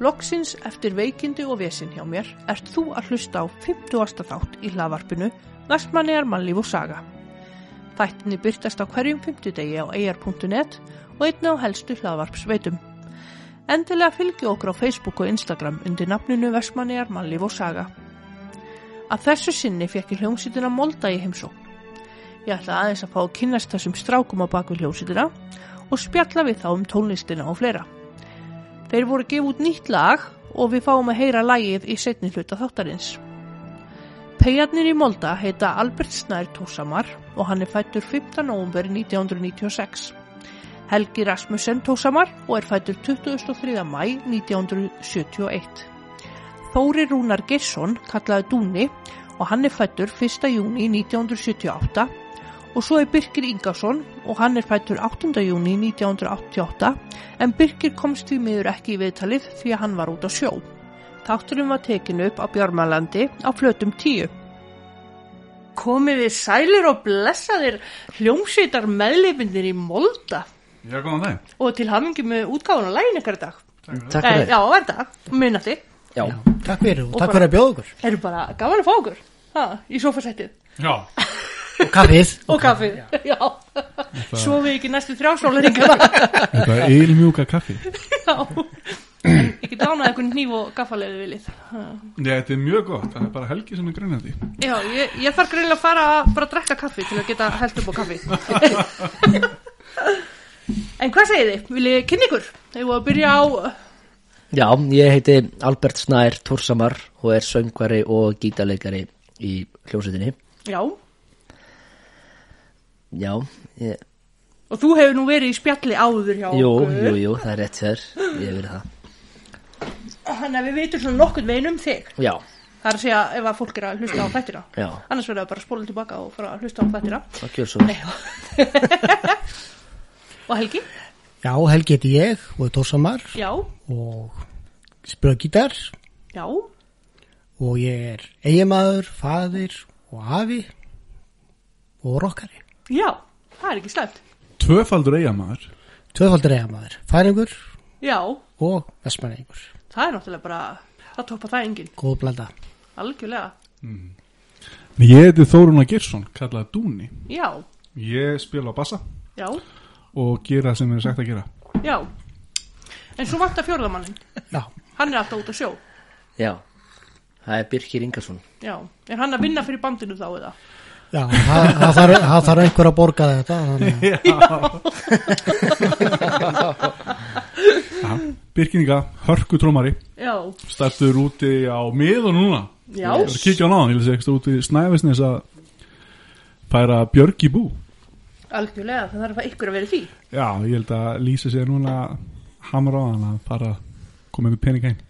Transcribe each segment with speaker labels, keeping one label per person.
Speaker 1: Loksins eftir veikindi og vesinn hjá mér ert þú að hlusta á 50. þátt í hlaðvarpinu Vestmanniðar mannlíf og saga. Þættinni byrtast á hverjum 50 degi á er.net og einna á helstu hlaðvarpsveitum. Endilega fylgja okkur á Facebook og Instagram undir nafninu Vestmanniðar mannlíf og saga. Að þessu sinni fekk ég hljómsýtina Molda í heimsó. Ég ætla aðeins að fá að kynnast þessum strákum á bakvið hljómsýtina og spjalla við þá um tónlistina og fleira. Þeir voru gefið út nýtt lag og við fáum að heyra lagið í setni hluta þáttarins. Peyjarnir í Molda heita Albert Snær Tósamar og hann er fættur 15. november 1996. Helgi Rasmussen Tósamar og er fættur 23. mæ 1971. Þóri Rúnar Gesson kallaði Dúni og hann er fættur 1. júni 1978 og svo er Birkir Ingarsson og hann er fættur 8. júni 1988 en Birkir komst því miður ekki í viðtalið því að hann var út á sjó. Þátturinn var tekin upp á Bjármalandi á flötum tíu. Komiði sælir og blessaðir hljómsveitar meðleifindir í Molda
Speaker 2: Já, góðan dag.
Speaker 1: og til hamingi með útgáðan á lægin ykkur dag. Eh,
Speaker 3: Takk fyrir.
Speaker 1: já, hver dag, minnati.
Speaker 3: Já.
Speaker 4: Takk fyrir og,
Speaker 1: Og
Speaker 4: takk
Speaker 1: bara-
Speaker 4: fyrir að bjóða okkur
Speaker 1: Eru bara gaman að fá okkur ha, í sofasættið
Speaker 2: Já,
Speaker 4: Og kaffið
Speaker 1: og kaffið. Já, svo við ekki næstu þrjá sólaringana.
Speaker 5: Þetta er eilmjúka kaffi
Speaker 1: Já, ég get ánað einhvern nýf og gaffalegu viljið.
Speaker 2: Nei, þetta er mjög gott, það er bara helgi sem er grunandi.
Speaker 1: Já, ég, ég þarf greinlega að fara að bara að drekka kaffi til að geta held upp á kaffi. en hvað segið þið? Viljið þið kynna ykkur? Þegar við að byrja á,
Speaker 3: Já, ég heiti Albert Snær Tórshamar og er söngvari og gítarleikari í hljómsveitinni.
Speaker 1: já,
Speaker 3: Já, ég,
Speaker 1: og þú hefur nú verið í spjalli áður hjá
Speaker 3: jú,
Speaker 1: okkur.
Speaker 3: jú, jú, það er rétt þér, ég hef verið það.
Speaker 1: Þannig að við veitum svona nokkurn veginn um þig.
Speaker 3: Já,
Speaker 1: Það er að segja ef að fólk er að hlusta á fættina.
Speaker 3: Já.
Speaker 1: Annars verður það bara að spóla tilbaka og fara að hlusta á fættina.
Speaker 3: það gjör svo. vel.
Speaker 1: Og Helgi?
Speaker 4: Já, Helgi heiti ég og er tósamar
Speaker 1: Já,
Speaker 4: og spila gítar
Speaker 1: já,
Speaker 4: og ég er eigemaður, faðir og afi og rokkari
Speaker 1: já, það er ekki slæmt.
Speaker 5: Tvöfaldur eigamæður
Speaker 4: Tvöfaldur eigamaður, færingur
Speaker 1: Já,
Speaker 4: og vestmanningur
Speaker 1: það er náttúrulega bara, það toppar það enginn,
Speaker 4: Góð blanda
Speaker 1: algjörlega.
Speaker 5: Ég heiti Þóruna Girsson, kallaði Dúni
Speaker 1: Já,
Speaker 2: Ég spila á bassa
Speaker 1: já,
Speaker 5: og gera sem er sagt að gera
Speaker 1: já. En svo vantar fjórðamannin,
Speaker 4: Já,
Speaker 1: hann er alltaf út að sjó.
Speaker 3: Já, það er Birkir Ingarsson.
Speaker 1: Já, er hann að vinna fyrir bandinu þá eða?
Speaker 4: já það það þarf, það þarf einhver að borga þetta þannig að
Speaker 2: Birkininga, hörku trómari,
Speaker 1: Já,
Speaker 2: stættur úti á miðun núna.
Speaker 1: já,
Speaker 2: Ég er að kíkja á náðan, ég lýsi ekstra úti snæfisnes að færa Björg í bú.
Speaker 1: algjörlega, það þarf að ykkur að vera í því.
Speaker 2: Já, ég held að lýsa sér núna hamra á hann að fara að koma með peninga inn.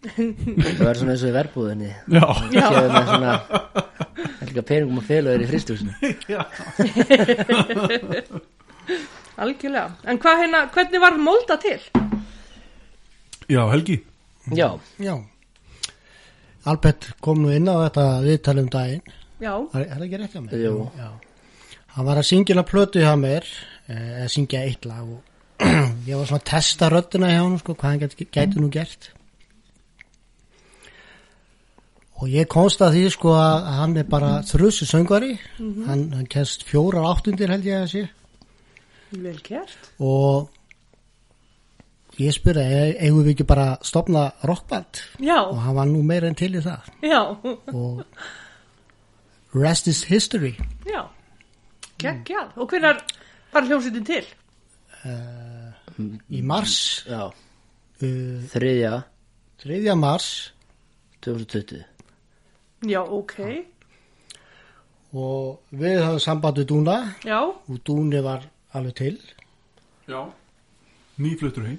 Speaker 3: Það verður svona eins og í verbúðinni.
Speaker 2: Já,
Speaker 3: Gefur með svona, helga peningum og félagur í fristúsinu.
Speaker 1: Algjörlega. En hvað hérna, hvernig var Molda til?
Speaker 2: já, Helgi.
Speaker 3: Já,
Speaker 4: Já Albert kom nú inn á þetta viðtalum daginn
Speaker 1: Já,
Speaker 4: Er er það ekki rétt hjá mér?
Speaker 3: Jú.
Speaker 4: Já. Hann var að syngja hérna plötu hjá mér, eh, að syngja eitt lag og ég var svona að testa röddina hjá hann, sko, hvað hann gæti, gæti nú gert. Og ég komst að því, sko, að hann er bara þrussu söngvari, hann, hann kennst fjórar áttundir held ég að sé
Speaker 1: vel gert.
Speaker 4: og ég spurði, "E- eigum við ekki bara að stopna rockband?
Speaker 1: Já,
Speaker 4: Og hann var nú meira en til í það
Speaker 1: já,
Speaker 4: og rest is history.
Speaker 1: já. Gekk, Og hvernig var hljómsveitin til?
Speaker 4: Í mars
Speaker 3: já,
Speaker 4: uh,
Speaker 3: þriðja
Speaker 4: 3. mars
Speaker 3: 2020.
Speaker 1: Já, ok,
Speaker 4: og við höfum samband við Dúna
Speaker 1: já,
Speaker 4: og Dúni var alveg til
Speaker 2: Já. Nýfluttur heim.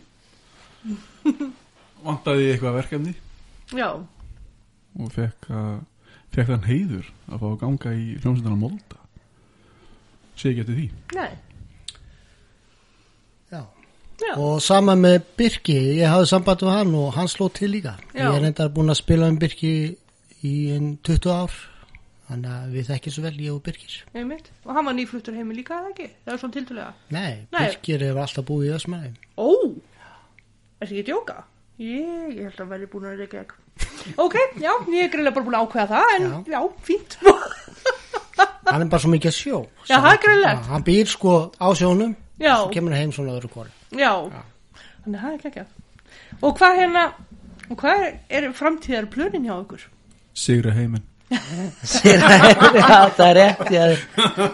Speaker 2: Vantaði eitthvað verkefni
Speaker 1: já,
Speaker 2: og fekk, uh, fekk þann heiður að fá að ganga í hljómsveitana Molda sé ekki eftir því
Speaker 1: nei,
Speaker 4: já.
Speaker 1: já,
Speaker 4: og sama með Birki, ég hafði samband við hann og hann sló til líka
Speaker 1: Já.
Speaker 4: ég er reyndar búin að spila um Birki í en 20 ár þannig að við þekkjum svo vel ég og Birkir
Speaker 1: einmitt. Og hann var nýfluttur heimi líka, eða ekki? Það var svona tildulega.
Speaker 4: nei,
Speaker 1: Nei.
Speaker 4: Birkir hefur alltaf búið í Ösmæðin
Speaker 1: Ó, er þetta ekki að djóka? Ég, ég held að verði búin að reykja ekki. Ok, já, ég er greiðlega bara búin að ákveða það, en já, fínt.
Speaker 4: hann er bara svo mikið að sjó
Speaker 1: Já, það er greinlegt.
Speaker 4: Já, hann býr sko á sjónum
Speaker 1: Já,
Speaker 4: og kemur hann heim svona öðru kóri
Speaker 1: já. Þannig að það er ekki ekki. Og hvað hérna, og hvað er, er framtíðar plönin hjá ykkur?
Speaker 2: Sigra heiminn
Speaker 3: Sér að- Já, það er rétt já,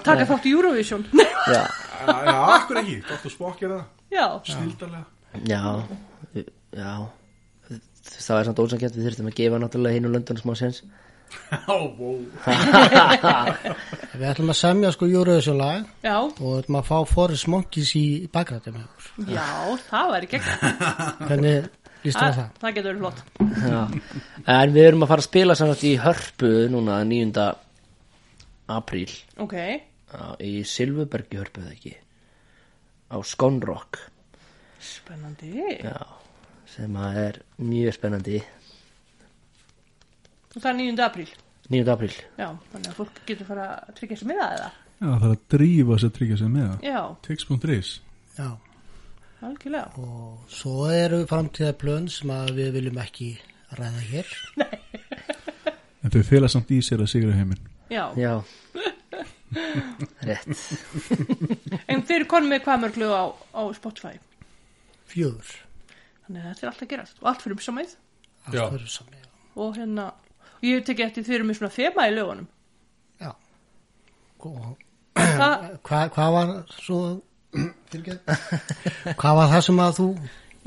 Speaker 1: Taka þátt í Eurovision?
Speaker 3: já,
Speaker 2: Já, akkur ekki, gott að spokkja það
Speaker 1: já,
Speaker 2: Snildarlega
Speaker 3: já, já. Það er samt ósangjönd Við þurfum að gefa náttúrulega hinn og löndunum smá sens
Speaker 4: við ætlum að semja sko Eurovision lag
Speaker 1: já,
Speaker 4: og við ætlum að fá Forrest Monkeys í bakrættum hjá okkur.
Speaker 1: já, það væri ekki ekki.
Speaker 4: hvernig líst það það?
Speaker 1: það getur verið flott.
Speaker 3: Já. En við erum að fara að spila samt í Hörpu núna 9. apríl
Speaker 1: Ok,
Speaker 3: Já, í Silvubergi Hörpu eða ekki á Skonrock
Speaker 1: spennandi.
Speaker 3: Já, sem að er mjög spennandi
Speaker 1: Og það er 9. apríl.
Speaker 3: 9. apríl
Speaker 1: Já, þannig að fólk getur fara að tryggja sér miða eða.
Speaker 2: Já, það er að drífa sér að tryggja sér með það
Speaker 1: Já,
Speaker 2: Tix.is
Speaker 4: Já.
Speaker 1: algjörlega.
Speaker 4: og svo eru framtíðar plön sem að við viljum ekki ræða hér
Speaker 2: En þau fela samt í sér að sigra heiminn
Speaker 1: Já,
Speaker 3: Já Rétt
Speaker 1: en þeir eru konum með hvað mörglu á, á Spotify.
Speaker 4: fjögur
Speaker 1: Þannig að þetta er allt að gerast og allt fyrir umsamæð
Speaker 4: allt
Speaker 5: Já.
Speaker 4: verður sami já.
Speaker 1: og hérna, og ég hef tekið eftir því erum við svona þema í lögunum.
Speaker 4: Já. og
Speaker 1: Það,
Speaker 4: hvað hva var svo tilgjöð hvað var það sem að þú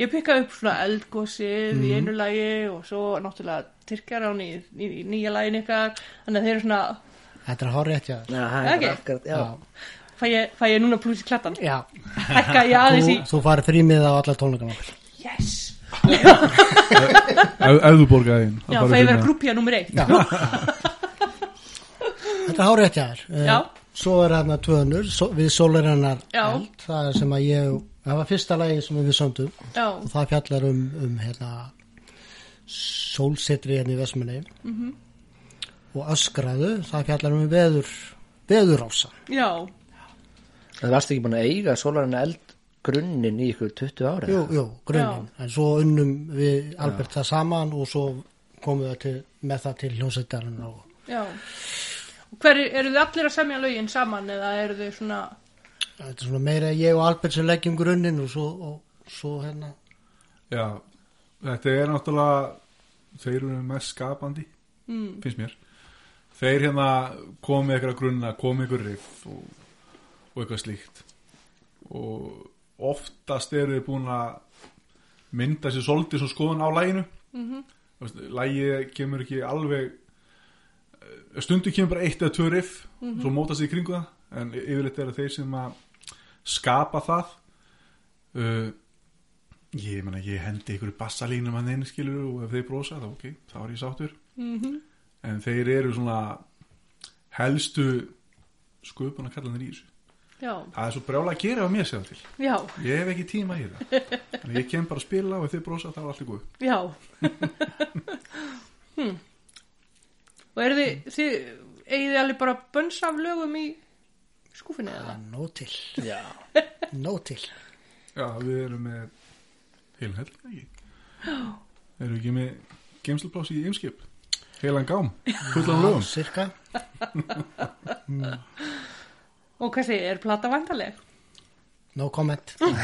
Speaker 1: ég pikkaði upp svona eldgósið
Speaker 4: Mhm.
Speaker 1: í einu lagi og svo náttúrulega tyrkjar án í, í, í nýja lagin ykkar, þannig að þeir eru svona,
Speaker 4: þetta er hárið eftir
Speaker 3: Já, það
Speaker 1: Ekki?
Speaker 3: bara akkurat, já.
Speaker 1: fæ ég, fæ ég núna pluss í klattan,
Speaker 4: já
Speaker 1: hækka ég aðeins
Speaker 4: þú,
Speaker 1: í,
Speaker 4: þú farið frímið á alla tónleikana okkar
Speaker 1: yes,
Speaker 2: Ef ef þú borgaði inn
Speaker 1: já, fæ ég vera grúppja nummer eitt,
Speaker 4: Já. Þetta er hárið eftir þér. Eh,
Speaker 1: Já.
Speaker 4: Svo er þarna tvöðnur við sólarinnar
Speaker 1: Já.
Speaker 4: eld. Það er sem að ég, það var fyrsta lagi sem við sömdum
Speaker 1: já,
Speaker 4: og það fjallar um, um hérna, sólsetri hérna í Vestmanni -hmm.
Speaker 1: Mhm.
Speaker 4: og öskraðu, það fjallar um veður, veðurása.
Speaker 1: já,
Speaker 3: Það varst ekki búin að eiga sólarinn eld grunnin í ykkur 20 ára
Speaker 4: Jú, jú, grunin. En svo unnum við Albert það saman og svo komum við það til, með það til hljómsveitarinn og
Speaker 1: já. Og Hver, eru þið allir að semja lögin saman eða eru þið svona,
Speaker 4: þetta er svona meira ég og Albert sem leggjum grunninn og svo, og, svo hérna
Speaker 2: Já, þetta er náttúrulega Þeir eru mest skapandi mm. Finnst mér Þeir hérna komið ykkur að grunna komið ykkur riff og, og eitthvað slíkt og oftast eru þið búin að mynda sér svolítið svo skoðan á læginu mm -hmm. Lægið kemur ekki alveg stundu kemur bara eitt eða tvö riff svo mótast þið í kringu það en yfirleitt eru þeir sem að skapa það uh, ég menna ég hendi ykkur bassalínum að neina skilur og ef þeir brosa þá ok, þá er ég sáttur -hmm. en þeir eru svona helstu sköpuna kallanir í þessu
Speaker 1: já,
Speaker 2: það er svo brjála að gera á mér sér til
Speaker 1: já,
Speaker 2: ég hef ekki tíma í það Þannig að ég kem bara að spila og ef þeir brosa þá er allir góð
Speaker 1: já. hm. Og eru þið, þið, eigið þið alveg bara bönns af lögum í skúfinni eða?
Speaker 4: Nó til Já Nó til
Speaker 2: já, við erum með heilan hell ekki erum við ekki með geimsluplási í ymskip heilan gám, fullan lögum
Speaker 4: Cirka
Speaker 1: Og hvað þið, er plata vandaleg?
Speaker 4: No comment
Speaker 3: Mm.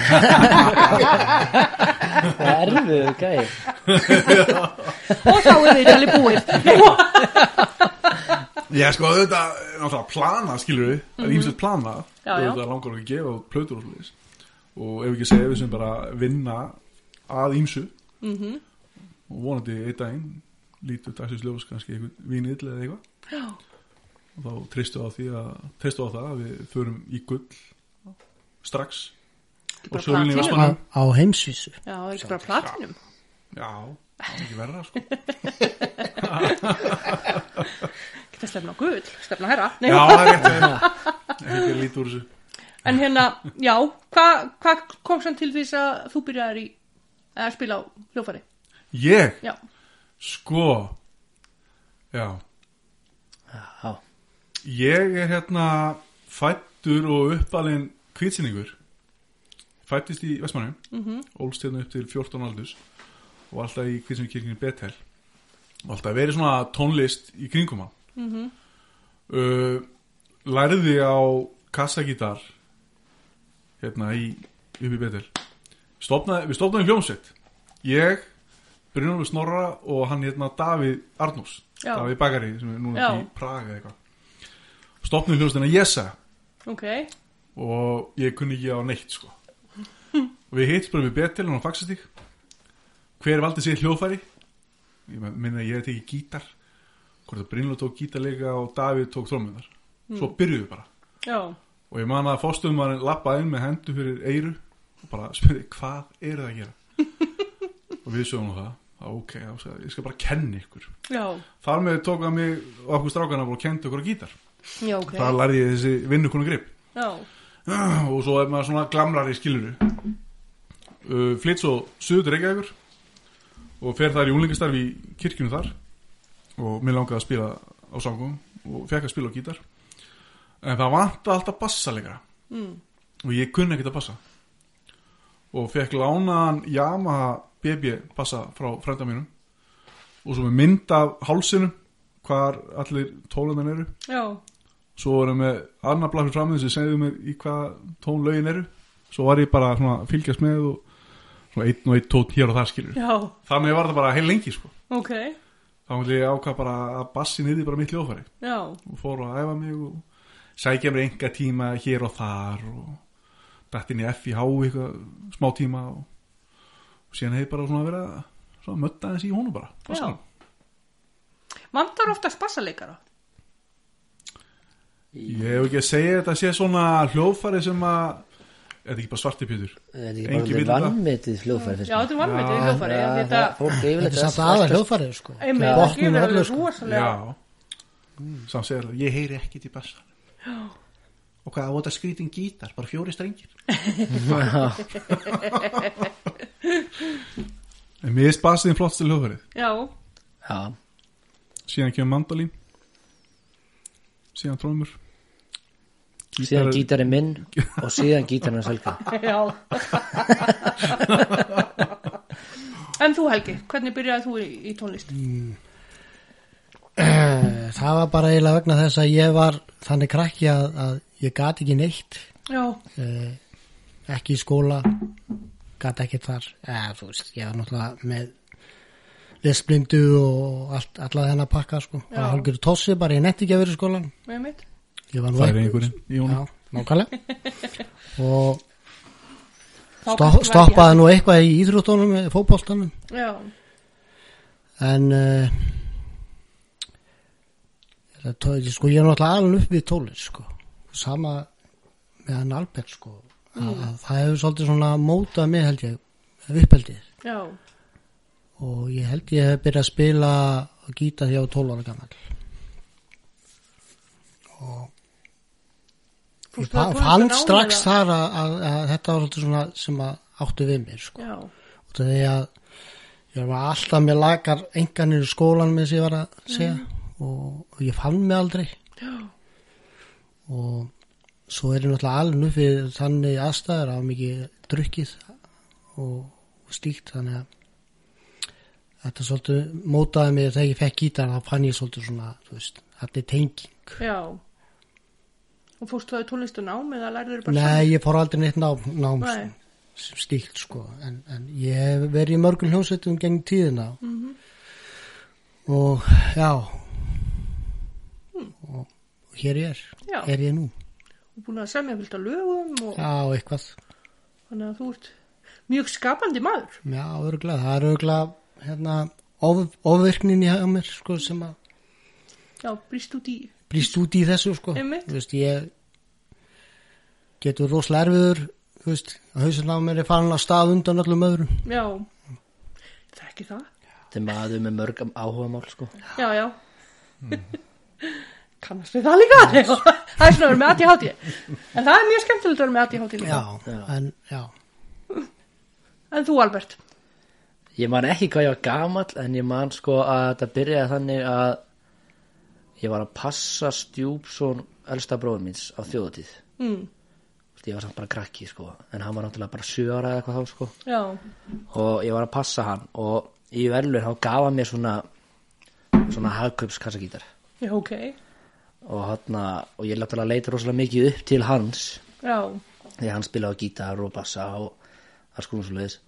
Speaker 3: Það er erfið, gæði
Speaker 1: Og þá er þið alveg búið.
Speaker 2: Já, sko, þetta er náttúrulega plana, skilur við Það er ímsett plana
Speaker 1: Já,
Speaker 2: og
Speaker 1: já.
Speaker 2: þetta langar okkur að gefa út plötur og sliðis og ef ekki segja við sem bara vinna að ímsu
Speaker 1: Mhm.
Speaker 2: og vonandi einn daginn lítur dagsins ljós kannski einhvern vínill eða eitthvað og þá treystu á því að treystu á það að við förum í gull strax og
Speaker 1: bara
Speaker 2: sölunni í
Speaker 1: platinum.
Speaker 2: Vestmanum
Speaker 4: á, á heimsvísu
Speaker 1: Já, er ekki bara platinum?
Speaker 2: Já, það er ekki verra, sko
Speaker 1: Geta stefna á gull, stefna herra. Nei,
Speaker 2: Já, það er rétt Ekki lítur úr þessu
Speaker 1: En hérna, já, hvað hva kom sann til þess að þú byrjaðir í að spila á hljófari?
Speaker 2: Ég,
Speaker 1: Já,
Speaker 2: sko Já,
Speaker 3: Já,
Speaker 2: Ég er hérna fættur og uppalinn kvitsinningur fættist í Vestmannum mm -hmm. ólst hérna upp til 14 aldurs og alltaf í Kristján kirkjunni Betel og alltaf verið svona tónlist í kringum hann uh, lærði á kassagítar hérna í upp í Betel stopnaði, við stopnaði hljómsveit ég, Brynjólfur Snorra og hann hérna Davíð Arnús
Speaker 1: Já.
Speaker 2: Davíð Bagari sem er núna
Speaker 1: Já.
Speaker 2: í Praga eða eitthvað stopnaði hljómsveitina Jessa
Speaker 1: ok,
Speaker 2: og ég kunni ekki á neitt sko. og við hittum bara við Betel og fagsastík hver valdi sér hljóðfæri ég men- minna að ég hef tekið gítar hvort að Brynlu tók gítarleika og Davíð tók trómmunar svo byrjuðu við bara
Speaker 1: já,
Speaker 2: og ég man að fórstöðum var lappa inn með hendu fyrir eyru og bara spurði hvað eru það að gera og við sögum nú það "Á, ok, já, sagði ég, ég skal bara kenna ykkur
Speaker 1: já,
Speaker 2: þar með tók að mig og okkur strákana og kendi okkur á gítar
Speaker 1: já, ok,
Speaker 2: þar lærði ég þessi vinnukonu grip
Speaker 1: já,
Speaker 2: og svo er maður svona glamrar í skiluru uh, flytt svo suður Reykjavíkur og fer þar í úlingastarf í kirkjunu þar og mér langaði að spila á sangum og fekk að spila á gítar en það vanta alltaf bassalegra
Speaker 1: mm.
Speaker 2: og ég kunni ekkert að bassa og fekk lánaðan Yamaha BB bassa frá frænda mínum og svo með mynd af hálsinum hvar allir tólunar eru
Speaker 1: já,
Speaker 2: svo vorum við annar blafið framöðu sem segðu mér í hvað tón lögin eru svo var ég bara svona að fylgjast með og svona einn og einn tón hér og þar skilur
Speaker 1: já,
Speaker 2: þannig var það bara heil lengi sko
Speaker 1: ok,
Speaker 2: þá ætli ég ákvað bara að bassin yfir bara mitt hljóðfæri
Speaker 1: já,
Speaker 2: og fór að æfa mig og sækja mér enga tíma hér og þar og dætt inn í FIH eitthvað smá tíma og, og síðan hefði bara svona verið að svona mötta aðeins í honum bara
Speaker 1: já.
Speaker 2: bassanum.
Speaker 1: Vandar oftast bassaleikara?
Speaker 2: ég hef ekki að segja að þetta sé svona hljóðfæri sem að þetta er ekki bara svarti pjötur
Speaker 3: Þetta er ekki
Speaker 2: Engin
Speaker 3: bara orðið
Speaker 2: vill það.
Speaker 3: vannmetið hljóðfæri
Speaker 1: Já, þetta er vanvitið
Speaker 2: Já.
Speaker 1: hljófari,
Speaker 3: Já,
Speaker 1: þetta
Speaker 4: eh,
Speaker 3: það- fólk yfirleitt
Speaker 4: Þetta er
Speaker 3: er
Speaker 4: samt aðal
Speaker 3: alltaf-
Speaker 4: hljóðfærið sko
Speaker 1: einmitt,
Speaker 3: Já.
Speaker 1: það
Speaker 4: Botnum
Speaker 1: gefur
Speaker 4: öllu,
Speaker 1: alveg
Speaker 4: sko.
Speaker 1: rosalega
Speaker 2: Já Samt Mm. segir það, ég heyri ekkit í bassanum Og hvað, það er skrýtin gítar, bara fjóri strengir En mér er bassiðin flott til hljóðverið
Speaker 1: Já,
Speaker 3: Já,
Speaker 2: Síðan kemur mandolín Síðan trómur
Speaker 3: síðan gítarinn minn og síðan gítarinn hans helga
Speaker 1: já En þú Helgi, hvernig byrjaði þú í, í tónlist?
Speaker 4: Eh, Það var bara eiginlega vegna þess að ég var þannig krakki að, að ég gat ekki neitt
Speaker 1: Já,
Speaker 4: eh, ekki í skóla gat ekki þar eða þú veist, ég var náttúrulega með lesblindu og allt, alla þennan pakka sko bara
Speaker 1: Já.
Speaker 4: hálfur tossi, bara ég netti ekki að vera í skólan
Speaker 1: með mitt
Speaker 4: ég var nú
Speaker 2: Það er
Speaker 4: ekki-
Speaker 2: einhverjum í honum
Speaker 4: Já, nákvæmlega og stopp, stoppaði nú eitthvað í íþróttunum, fótboltanum
Speaker 1: Já,
Speaker 4: en uh, tóið, sko, ég er náttúrulega alveg upp við tólið sko. sama með hann Albert sko. mm. að, að það hefur svolítið svona mótað mig held ég uppeldið
Speaker 1: já,
Speaker 4: og ég held ég hef byrjað að spila og gíta því á 12 ára gammal
Speaker 1: Fórstu
Speaker 4: ég
Speaker 1: það
Speaker 4: fa-
Speaker 1: tónlist
Speaker 4: fann
Speaker 1: að námi
Speaker 4: strax
Speaker 1: eða?
Speaker 4: þar að, að, að þetta var svolítið svona sem að áttu við mér sko.
Speaker 1: já,
Speaker 4: Út af því að ég var alltaf með lagar enganir í skólan með þess að ég var að
Speaker 1: Mm.
Speaker 4: segja og, og ég fann mig aldrei
Speaker 1: já,
Speaker 4: og svo er ég náttúrulega alveg upp við þannig aðstæður á mikið drukkið og, og stíkt þannig að þetta svolítið mótaði mig þegar ég fekk gítar þá fann ég svolítið svona, þú veist, þetta er tenging
Speaker 1: já Og fórstu það í tónlist og nám eða lærður bara
Speaker 4: Nei, ég fór aldrei neitt nám, nám
Speaker 1: Nei.
Speaker 4: sem stíkt sko en, en ég hef verið í mörgum hljómsveitum gengum tíðina
Speaker 1: Mhm.
Speaker 4: og já og hér ég er
Speaker 1: Hmm. Já.
Speaker 4: er ég nú,
Speaker 1: Og búin að semja fylgta lögum og
Speaker 4: já eitthvað
Speaker 1: þannig að þú ert mjög skapandi maður
Speaker 4: já, örgulega, það er örgulega hérna, of, ofvirknin í hjá mér sko sem að
Speaker 1: Já, brýst út í
Speaker 4: brýst út í þessu sko
Speaker 1: Einmitt.
Speaker 4: Þú veist, ég getur rosalega erfiður þú veist, að hausinn á mér er farin að stað undan öllum öðrum
Speaker 1: Já, það er ekki það
Speaker 3: Þetta er maður með mörg áhuga mál sko
Speaker 1: Já, já Kannast við það líka Mm. Já. Það er svona að vera með ADHD En það er mjög skemmtilegt að vera með ADHD líka
Speaker 4: já, en já
Speaker 1: En þú Albert
Speaker 3: Ég man ekki hvað ég var gamall en ég man sko að þetta byrjaði þannig að ég var að passa stjúpsson elsta bróður míns á þjóðatíð
Speaker 1: mm,
Speaker 3: Ég var samt bara krakki sko en hann var náttúrulega bara sjö ára eða eitthvað þá sko
Speaker 1: Já,
Speaker 3: og ég var að passa hann og í verðlun þá gaf hann mér svona svona hagkaups kassagítar
Speaker 1: Já, ok.
Speaker 3: og, hana, og ég náttúrulega leita rosalega mikið upp til hans
Speaker 1: Já,
Speaker 3: því hann spilaði á gítar og bassa og það skoðum svo leiðis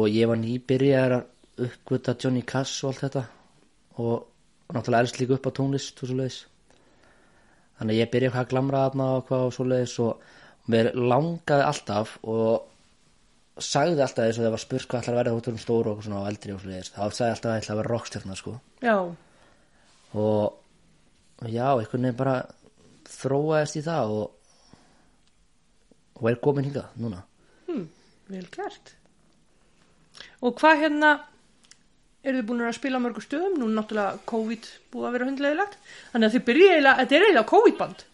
Speaker 3: og ég var nýbyrjar að uppgöta Johnny Cass og allt þetta og náttúrulega elst líka upp á tónlist og svo leiðis þannig að ég byrja eitthvað að glamra þarna og hvað og svo leiðis og mér langaði alltaf og sagði alltaf þess að það var spurt hvað ætlar að verða hóttur um stóru og svona á eldri og svo leiðis þá sagði ég alltaf að ég ætla að vera rockstjörna sko
Speaker 1: já,
Speaker 3: og já, einhvern veginn bara þróaðist í það og, og er komin hingað núna
Speaker 1: vel gert. Og hvað hérna, eru þið búin að spila á mörgu stöðum? Nú er náttúrulega COVID búið að vera hundlegilegt. Þannig að þið byrja eiginlega, þetta er eiginlega COVID-band.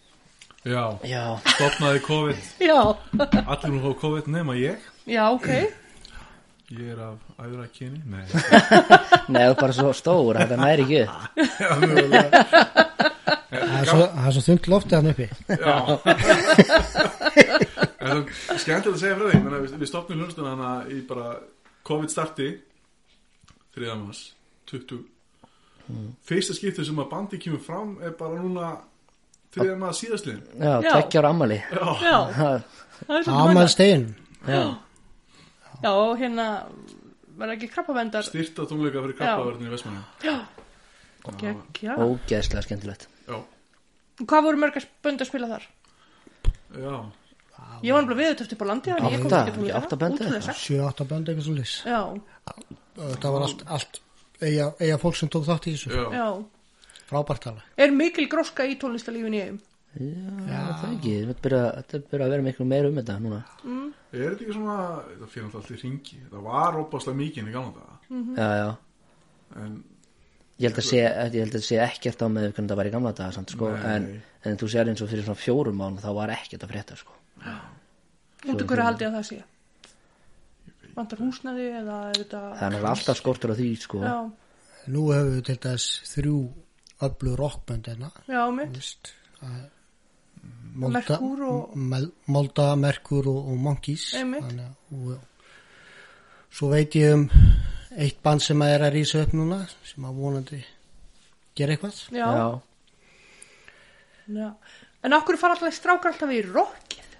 Speaker 2: Já,
Speaker 3: Já,
Speaker 2: stopnaði COVID,
Speaker 1: Já,
Speaker 2: allir nú fá COVID nema ég.
Speaker 1: já, ok.
Speaker 2: Ég er af æðra kyni, nei.
Speaker 3: nei, það er bara svo stór, þetta næri ekki upp
Speaker 4: Það er svo, það er svo þungt loftið hann uppi
Speaker 2: Já En það er skemmtilegt að segja frá því Menna, við, við stopnum hljónstuna hana í bara COVID starti 3. mars 20 Fyrsta skiptið sem að bandi kemur fram er bara núna 3. mars síðastliðin
Speaker 3: Já,
Speaker 1: Já.
Speaker 3: tekja ára ammali
Speaker 2: Já,
Speaker 1: Já,
Speaker 3: Það-
Speaker 1: það er svolítið
Speaker 4: Amal
Speaker 1: mæna.
Speaker 4: Stein
Speaker 3: Já,
Speaker 1: Já, og hérna, verða ekki krabbavendar.
Speaker 2: styrta tónleika fyrir kappaverðinu í Vestmanni
Speaker 1: Gekja.
Speaker 3: ógeðslega skemmtilegt
Speaker 2: Já,
Speaker 1: Hvað voru mörgast bönd að spila þar?
Speaker 2: já
Speaker 1: Ég var alveg viðutöft upp á landi þannig ég kom
Speaker 3: Átta,
Speaker 1: ekki til að
Speaker 3: ekki
Speaker 1: gera.
Speaker 3: átta bönd eða
Speaker 1: Ótrúlega
Speaker 3: eitthvað?
Speaker 1: sætt.
Speaker 4: 7-8 bönd eitthvað svo lýs
Speaker 1: Já,
Speaker 4: Þetta var allt, allt eiga, eiga fólk sem tók þátt í þessu
Speaker 2: Já,
Speaker 1: já.
Speaker 4: Frábært alveg
Speaker 1: Er mikil gróska í tónlistalífin í eigum?
Speaker 3: Já, það ekki, þetta er byrjað þetta er byrjað að vera miklu meira um þetta núna
Speaker 2: er þetta ekki svona Það fyrir alltaf allt í ringi Það var opaslega mikið í gamla daga
Speaker 1: Mhm.
Speaker 3: Já, já,
Speaker 2: En
Speaker 3: ég held að sé, ég held að sé ekkert á með hvernig það var í gamla daga samt, sko,
Speaker 2: Nei.
Speaker 3: en, en þú sér eins og fyrir svona fjórum mánu þá var ekkert að frétta, sko
Speaker 1: Út af hverju haldið að það sé? Vantar húsnaði eða er þetta...
Speaker 3: Það er náttúrulega alltaf skortur á því, sko
Speaker 1: Já,
Speaker 4: Nú hefur við til dæs þrjú öllu rockbönd hérna
Speaker 1: já, mitt.
Speaker 4: veist,
Speaker 3: uh,
Speaker 4: að Molda,
Speaker 1: Merkúr og-
Speaker 4: Mel- Molda, Merkur og, og Monkeys
Speaker 1: Einmitt.
Speaker 4: Þannig að- og, Svo veit ég um eitt band sem að er að rísa upp núna sem að vonandi gera eitthvað
Speaker 1: Já. já. En okkur fara alltaf strákar alltaf í rockið?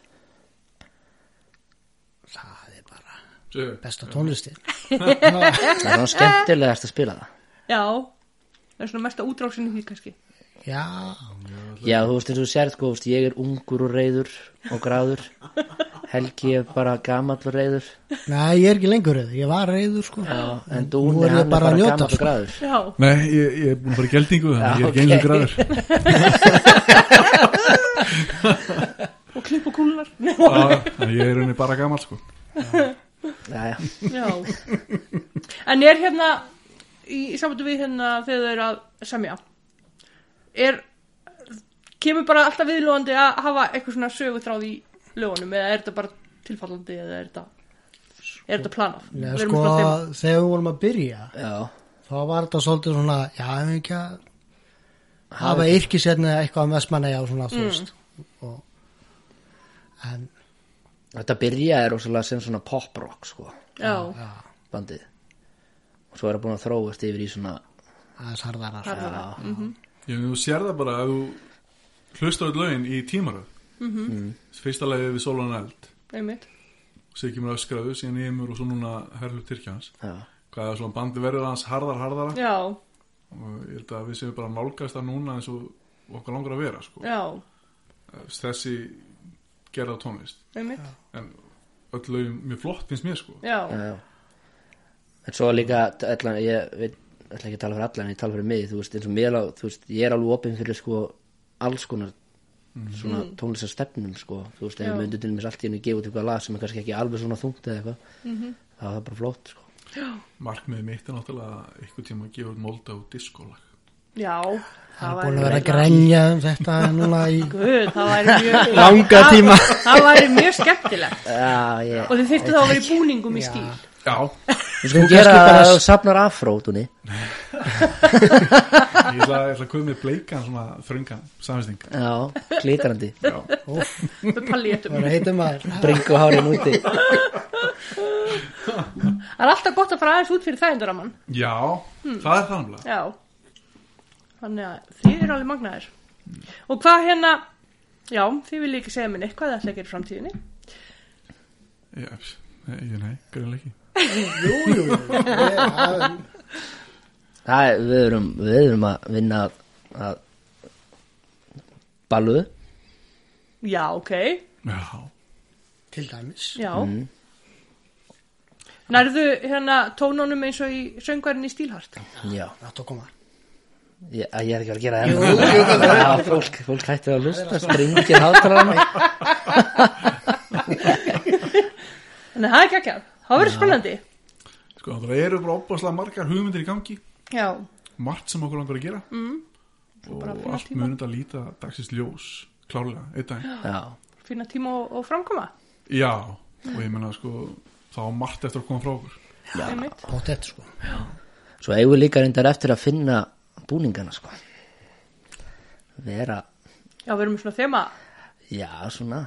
Speaker 4: Það er bara
Speaker 2: séu,
Speaker 4: besta tónlistin
Speaker 3: það er svona skemmtilegast að spila það
Speaker 1: Já. Það er svona mesta útrásin í því kannski.
Speaker 4: Já,
Speaker 3: Já, þú veist eins og þú sér, sko, þú veist, ég er ungur og reyður og gráður Helgi er bara gamall og reyður
Speaker 4: Nei, ég er ekki lengur reyður, ég var reyður sko Já,
Speaker 3: En
Speaker 4: Nú
Speaker 3: Dúni,
Speaker 4: er ég
Speaker 3: hann er
Speaker 4: bara
Speaker 3: bara
Speaker 4: að njóta,
Speaker 3: gamall og
Speaker 4: sko.
Speaker 3: gráður
Speaker 1: Já.
Speaker 2: Nei, ég, ég er búin að fara í geldingu þannig ég er ekki eins og græður
Speaker 1: Og klipp og kúlunar.
Speaker 2: Já, Ég er í rauninni bara gammal sko
Speaker 3: Jæja,
Speaker 1: já. En er hérna, í, í samvættu við hérna þegar þau eru að semja, er, kemur bara alltaf viðlóðandi að hafa eitthvað svona sögutráð í lögunum eða er þetta bara tilfallandi eða er þetta... Er þetta planað?
Speaker 4: Nei,
Speaker 1: Við erum
Speaker 4: sko,
Speaker 1: svona þeim-
Speaker 4: þegar við vorum að byrja
Speaker 3: já
Speaker 4: þá var þetta svolítið svona já, ef við ekki að hafa yrkisetni eitthvað um vestmanni á svona
Speaker 1: Mm.
Speaker 4: þú veist og, en
Speaker 3: Þetta byrjaði rosalega sem svona poprock, sko,
Speaker 1: Já,
Speaker 3: bandið Og svo er það búin að þróast yfir í svona
Speaker 4: aðeins harðarar
Speaker 3: Já,
Speaker 2: Ég þú sér það bara að þú hlustar út lögin í tímaröð
Speaker 1: Mhm.
Speaker 2: Fyrsta lagið við Solan Eld
Speaker 1: einmitt
Speaker 2: Sér kemur öskraðu, síðan Ymur og svo núna Herlu Tyrkjans
Speaker 3: já,
Speaker 2: Hvað er svona bandi verður hans harðar harðara
Speaker 1: Já,
Speaker 2: Og ég held að við séum bara að nálgast það núna eins og okkar langar að vera sko
Speaker 1: já,
Speaker 2: Þessi gerða tónlist
Speaker 1: einmitt
Speaker 2: En öll lögin mjög flott finnst mér sko
Speaker 1: Já,
Speaker 3: já, já En svo líka, allan, ég veit, ætla ekki að tala fyrir allan, ég tala fyrir mig, þú veist, eins og mér, lá- þú veist, ég er alveg opinn fyrir, sko, alls konar
Speaker 4: Mhm.
Speaker 3: svona tónlistastefnum sko, þú veist, ef
Speaker 1: Já.
Speaker 3: við myndum til mér allt í henni gefa út eitthvað lag sem er kannski ekki alveg svona þungt eða eitthvað,
Speaker 4: Mhm.
Speaker 3: þá er það bara flott sko.
Speaker 2: Markmiðið mitt er náttúrulega að einhvern tíma að gefa út molda og diskolag
Speaker 1: já
Speaker 4: það
Speaker 1: væri
Speaker 4: er búin að vera að
Speaker 1: eiginlega-
Speaker 4: grenja um þetta núna í
Speaker 1: Guð, það væri mjög
Speaker 4: Langa
Speaker 1: það-
Speaker 4: tíma.
Speaker 1: Það væri mjög skemmtilegt
Speaker 3: Já, ég
Speaker 1: Og þið þyrftu þá að vera í búningum í stíl
Speaker 2: Já,
Speaker 3: Við skulum
Speaker 4: Þú
Speaker 3: gera
Speaker 4: kannski bara-
Speaker 3: að þú safnar afrótunni
Speaker 2: ég ætla, ég ætla að koma með bleikan svona þröngan samvisting
Speaker 3: Já, glitrandi
Speaker 2: Já,
Speaker 1: Með pallétum
Speaker 4: og heitum maður
Speaker 3: Bringu hárið núti
Speaker 1: Það er alltaf gott að fara aðeins út fyrir þægindaramann.
Speaker 2: Já,
Speaker 1: Hmm.
Speaker 2: það er þannig
Speaker 1: Já. Þannig að þið eru alveg magnaðir. Og hvað hérna, já, þið vil ekki segja mér neitt hvað það ætla að gera í framtíðinni.
Speaker 2: Já, pss, nei, nei, greinlega ekki
Speaker 4: Jú, jú, jú. Ég, að,
Speaker 3: Það er, við erum, við erum að vinna að, að balluðu
Speaker 1: Já, ok,
Speaker 2: Já,
Speaker 4: til dæmis
Speaker 1: já.
Speaker 3: Mm.
Speaker 1: Nærðu hérna tónunum eins og í söngvarinn í stílhart?
Speaker 3: Já,
Speaker 4: átt að koma
Speaker 3: ég, að ég er ekki að gera það enn Já, fólk, fólk hætti að hlusta springir hátalarna
Speaker 1: Þannig að það er ekki ekki að, það verður spennandi.
Speaker 2: sko, það eru bara opaslega margar hugmyndir í gangi
Speaker 1: Já,
Speaker 2: margt sem okkur langar að gera mm. og
Speaker 1: bara að finna
Speaker 2: allt
Speaker 1: tíma.
Speaker 2: munið að líta dagsins ljós klárlega, einn dag
Speaker 3: Já,
Speaker 1: finna tíma og, og framkoma.
Speaker 2: Já, og ég menna sko þá á margt eftir að koma frá okkur
Speaker 1: Já.
Speaker 4: Pottet, sko
Speaker 3: svo eigum við líka reyndar eftir að finna búningana sko Vera,
Speaker 1: Já, við erum með svona þema.
Speaker 3: já, svona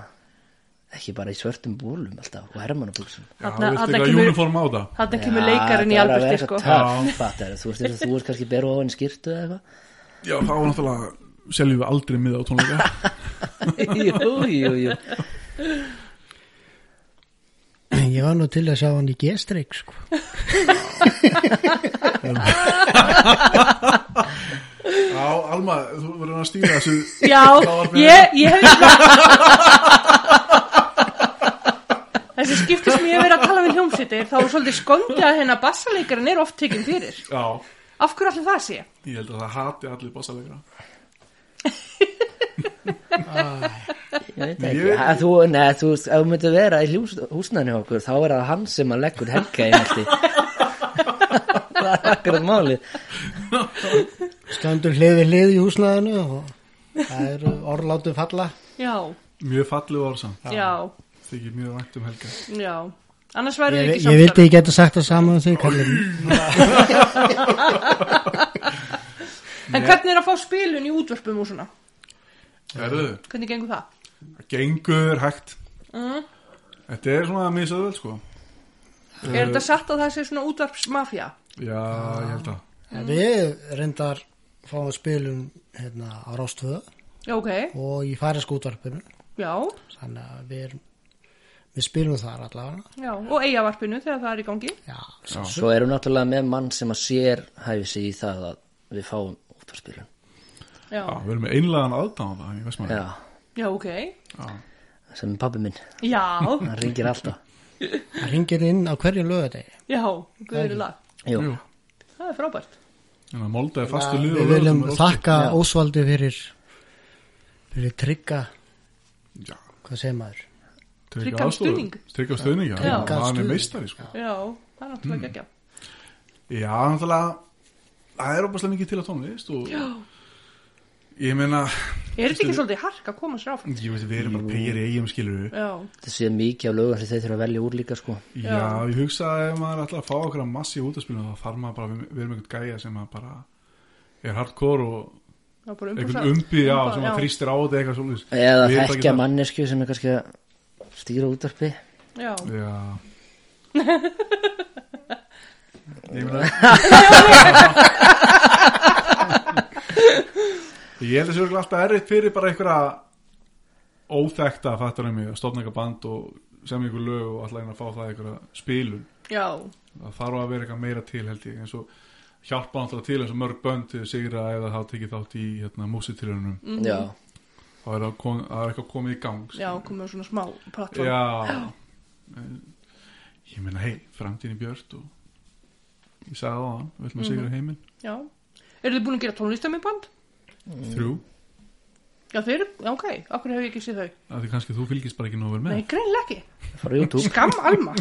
Speaker 3: ekki bara í svörtum bólum alltaf og hermannabuxum
Speaker 2: Já,
Speaker 1: Þarna-
Speaker 2: þú
Speaker 1: þarna
Speaker 2: vilt eitthvað
Speaker 1: kemur-
Speaker 2: uniform á það
Speaker 1: Þarna kemur leikarinn í
Speaker 3: það var að vera
Speaker 1: albusti,
Speaker 3: svo
Speaker 1: sko.
Speaker 3: töff, fattar, þú veist eins og þú veist kannski beru á henni skýrtu eða
Speaker 2: Já, þá er náttúrulega seljum við aldrei miða á tónleika
Speaker 3: eitthvað jú, jú, jú
Speaker 4: Ég var nú til að sjá hann í G-streik, sko
Speaker 2: Já, Alma, þú verður að stýra þessu
Speaker 1: Já, ég, ég hef eitthvað Þessi skipti sem ég hef verið að tala við hljómsýttir þá er svolítið skondið að hérna bassaleikarin er oft tekinn fyrir.
Speaker 2: Já,
Speaker 1: Af hverju allir það sé?
Speaker 2: ég held að það hati allir bassalegra
Speaker 3: Ég veit
Speaker 2: Ég
Speaker 3: ekki,
Speaker 2: veit
Speaker 3: að þú, neð, þú, veist, ef þú myndir vera í hús, húsnæðinu hjá okkur, þá er það hann sem að leggur helga einhaldi. það er akkurat málið.
Speaker 4: Stendur hliði hliði í húsnaðinu og það eru orðlátum falla
Speaker 1: Já,
Speaker 2: Mjög fallið orðsam,
Speaker 1: já,
Speaker 2: þykir mjög vænt um helga
Speaker 1: já. Annars verður
Speaker 4: Ég,
Speaker 1: þið ekki
Speaker 4: ég vildi
Speaker 1: samstarf.
Speaker 4: ekki geta sagt það saman um þau kallir
Speaker 1: En hvernig er að fá spilun í útvörpum og svona?
Speaker 2: Erðu,
Speaker 1: Hvernig gengur það?
Speaker 2: gengur hægt
Speaker 1: Mm.
Speaker 2: Þetta er svona misöðvöld sko
Speaker 1: Er
Speaker 4: Uh.
Speaker 1: þetta satt að það sé svona útvarpsmafja?
Speaker 2: Já, ég held að
Speaker 4: Við reyndar fáum spilum hérna, á Rástvöð
Speaker 1: Já, ok,
Speaker 4: og í færisk útvarpinu
Speaker 1: já,
Speaker 4: þannig að við, erum- við spilum þar allavega
Speaker 1: já. Og eigavarpinu þegar það er í gangi.
Speaker 4: Já,
Speaker 3: Svo erum náttúrulega með mann sem að sér hæfi sig í það að við fáum útvarspilun.
Speaker 1: Já,
Speaker 2: Já, við erum með einlagan aðdáðan það í Vestmanni
Speaker 3: Já,
Speaker 1: já, ok.
Speaker 3: sem er pabbi minn,
Speaker 1: Já,
Speaker 3: hann ringir alltaf.
Speaker 4: það ringir inn á hverjum lögadegi
Speaker 1: já, guður lag.
Speaker 3: Jú,
Speaker 2: Jú,
Speaker 1: Það er frábært.
Speaker 2: en að molda er fastu lið
Speaker 4: Við
Speaker 2: og lögum
Speaker 4: viljum
Speaker 2: er oft-
Speaker 4: þakka
Speaker 3: Já.
Speaker 4: Ósvaldi fyrir fyrir trygga
Speaker 2: Já,
Speaker 4: hvað segir maður
Speaker 1: Tryggan stuðning.
Speaker 2: Tryggja stuðning, já,
Speaker 1: Já.
Speaker 2: já. hann er
Speaker 4: Stuðning.
Speaker 2: meistari sko
Speaker 1: Já, það er
Speaker 4: Mm.
Speaker 1: náttúrulega geggjað.
Speaker 2: Já, náttúrulega Það er opaslega mikið til að tónlist og já. Ég meina,
Speaker 1: Er þetta ekki svolítið hark að koma sér áfram?
Speaker 2: ég veit, við erum bara pegir í eigum skilur við
Speaker 1: Já,
Speaker 3: þetta séð mikið af lögum sem þeir þurfa að velja úr líka sko.
Speaker 2: Já, ég hugsa að ef maður ætlar að fá okkur að massi út að spila þá þarf maður bara að vera með einhvern gæja sem að bara er hardcore og
Speaker 1: það er bara umbúsa.
Speaker 2: einhvern umbi á
Speaker 1: Umbi-
Speaker 2: sem
Speaker 1: já.
Speaker 2: að þrýstir á þetta eitthvað svolítið
Speaker 3: Eða þekkja mannesku sem er kannski að stýra útvarpi.
Speaker 1: Já,
Speaker 2: Já Ég meina Ég held að þessu er alltaf erfitt fyrir bara einhverja óþekta fattar um mig að stofna eitthvað band og sem einhver lög og alltaf einn að fá það einhverja spilun
Speaker 1: já,
Speaker 2: það þarf að vera eitthvað meira til held ég eins og hjálpa náttúrulega til eins og mörg bönd til að sigra eða þá tekið þátt í hérna, músitilunum
Speaker 3: Já,
Speaker 2: þá er það kom- það er eitthvað komið í gang
Speaker 1: já, komum við svona smá plattform. Já.
Speaker 2: já. En ég meina hei, framtíðin í björt og ég sagði það á hann við ætlum að sigra heiminn
Speaker 1: Eru þið búin að gera tónlistamindband?
Speaker 2: þrjú,
Speaker 1: Já, þeir eru, já, ok, okkur hef ég ekki séð þau.
Speaker 2: það er kannski þú fylgist bara ekki nóg vel með
Speaker 1: Nei, greinlega ekki.
Speaker 3: fara á YouTube.
Speaker 1: Skam Alma.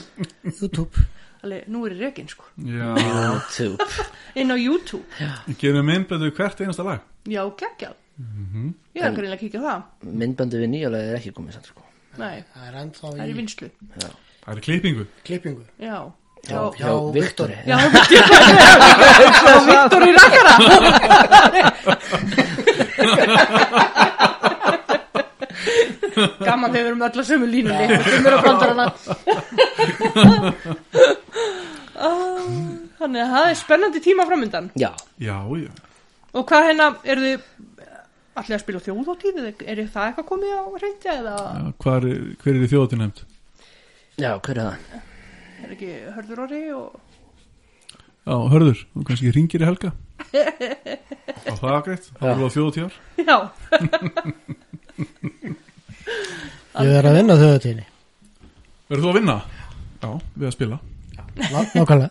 Speaker 4: YouTube
Speaker 1: Alveg, nú er ég rekin, sko.
Speaker 2: já,
Speaker 3: YouTube.
Speaker 1: Inn á YouTube.
Speaker 2: ég gerum myndböndu hvert einasta lag
Speaker 1: Já, geggjað. Ég er greinlega að kíkja á það.
Speaker 3: Myndbandi við nýjulega er ekki komið samt sko.
Speaker 1: Nei,
Speaker 4: það er ennþá
Speaker 1: það er í
Speaker 4: í
Speaker 1: vinslu.
Speaker 2: það er klippingu
Speaker 4: klippingu
Speaker 1: Já.
Speaker 3: Já,
Speaker 1: Já,
Speaker 3: hjá Viktori.
Speaker 1: já, Viktor Viktor í rakkara. Gaman þegar við erum öll að sömu línunni. Við erum að brandara hana. Æ, Ah, Þannig að það er spennandi tíma framöndan.
Speaker 3: Já,
Speaker 2: Já, já.
Speaker 1: Og hvað hérna, eru þið allir að spila á þjóðhátíð? eða Er það eitthvað komið á reyndi eða
Speaker 2: Hvar, hver er í þjóðatíð nefnd?
Speaker 3: já, hver er það?
Speaker 1: er ekki hörður orði og...
Speaker 2: Já, hörður, þú kannski ringir í helga. Já, það er greitt. Það er á þjóðatíðar.
Speaker 1: Já,
Speaker 4: Ég er að vinna þauðatíðinni.
Speaker 2: Verður þú að vinna? Já, við að spila.
Speaker 4: Nákvæmlega.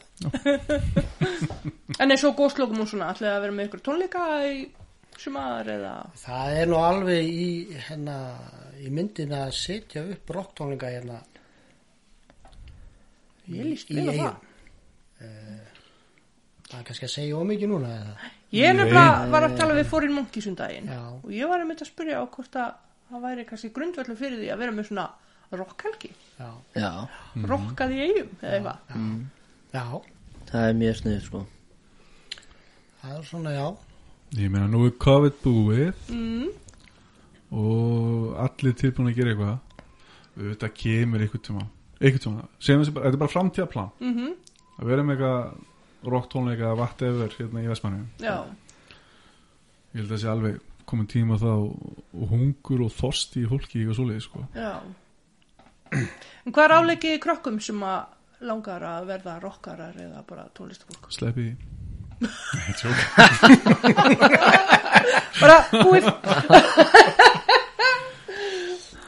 Speaker 1: en eins og góðslokum og svona, allir að vera með ykkur tónleika í sumar eða...
Speaker 4: Það er nú alveg í, hérna, í myndin að setja upp rocktónlinga hérna.
Speaker 1: Ég líst
Speaker 4: Í
Speaker 1: vel á
Speaker 4: Eyjum.
Speaker 1: það.
Speaker 4: Það er kannski að segja ómikið núna eða.
Speaker 1: Ég nefnilega var að tala við Foreign Monkey sundaginn
Speaker 4: Já.
Speaker 1: og ég var að mynda að spyrja á hvort að það væri kannski grundvöldu fyrir því að vera með svona rockhelgi,
Speaker 4: Já.
Speaker 3: Já,
Speaker 1: rockað í eigum eða eitthvað.
Speaker 4: Já.
Speaker 3: það er mjög sniður sko
Speaker 4: Það er svona, já.
Speaker 2: Ég meina, nú er COVID búið og allir tilbúin að gera eitthvað. Þetta kemur einhvern tíma. Einhvern tíma. Segjum þessi bara, þetta er bara framtíðaplan. Mm -hmm. Að vera með eitthvað rocktónleika að vatta yfir hérna í Vestmanniðum.
Speaker 1: Já,
Speaker 2: Ég held að það sé alveg komin tíma þá og hungur og þorsti í hólki eitthvað svoleiði sko.
Speaker 1: já. En hvað er áleikið í krökkum sem að langar að verða rockarar eða bara tónlistafólk?
Speaker 2: Sleppi því. Nei, tjók.
Speaker 1: Bara búið,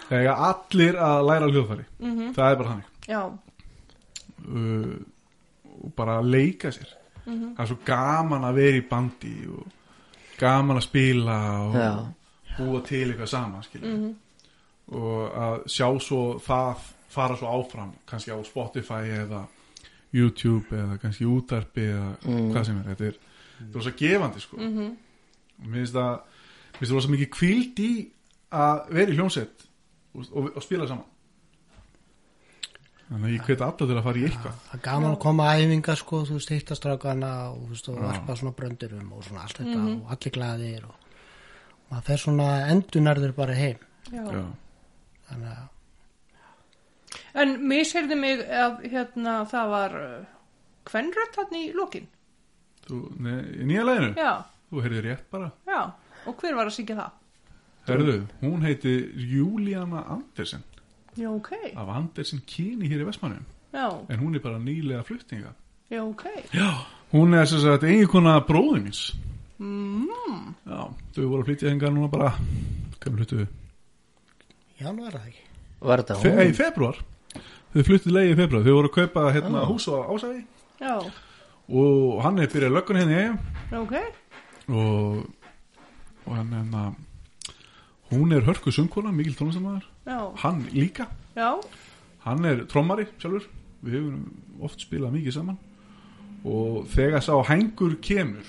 Speaker 2: Það er allir að læra á hljóðfæri. Það er bara þannig.
Speaker 1: já,
Speaker 2: Uh, og bara að leika sér. Það er svo gaman að vera í bandi og gaman að spila og
Speaker 3: Já.
Speaker 2: búa til eitthvað saman, skiljum. Og að sjá svo það fara svo áfram, kannski á Spotify eða YouTube eða kannski útarpi eða hvað sem er. Þetta er, þetta er svo gefandi, sko. Og Mér finnst það, mér finnst það rosa mikið kvíld í að vera í hljómsveit og, og, og spila saman. Þannig að ég hveti alla til að fara í eitthvað.
Speaker 4: Það er gaman að koma að æfinga sko, þú veist, hittastrákana og þú veist, og varpa svona bröndurum og svona allt þetta
Speaker 1: Mhm.
Speaker 4: og allir glaðir og, og maður fer svona endunarður bara heim.
Speaker 1: já.
Speaker 2: Já.
Speaker 4: Þannig að,
Speaker 1: En misheyrði mig að hérna, það var kvenrött hann í lokin.
Speaker 2: Þú, nei, í nýja læginu?
Speaker 1: Já,
Speaker 2: Þú heyrðir rétt bara.
Speaker 1: já. Og hver var að syngja það?
Speaker 2: Herðu, hún heiti Júlíana Andersen
Speaker 1: Já, ok.
Speaker 2: af Andersen kyni hér í Vestmannum
Speaker 1: Já,
Speaker 2: en hún er bara nýlega fluttinga.
Speaker 1: já, ok.
Speaker 2: Já. Hún er sem sagt eiginkona bróði míns. Mm. Já, þau voru að flytja hengar núna bara, hvernig hlutu þau?
Speaker 4: já, nú er það ekki.
Speaker 3: Var þetta
Speaker 2: Fe
Speaker 3: hún?
Speaker 2: Ei, februar. Þau fluttu leið í februar. Þau voru að kaupa hérna hús á Ásæði
Speaker 1: Já,
Speaker 2: og hann er byrjað löggun hérna í eigum
Speaker 1: já, ok.
Speaker 2: og, og hann, hérna, hún er hörku sungkona, mikil tónlistamæður.
Speaker 1: Já,
Speaker 2: Hann líka.
Speaker 1: já,
Speaker 2: hann er trommari sjálfur við hefum oft spilað mikið saman og þegar sá hængur kemur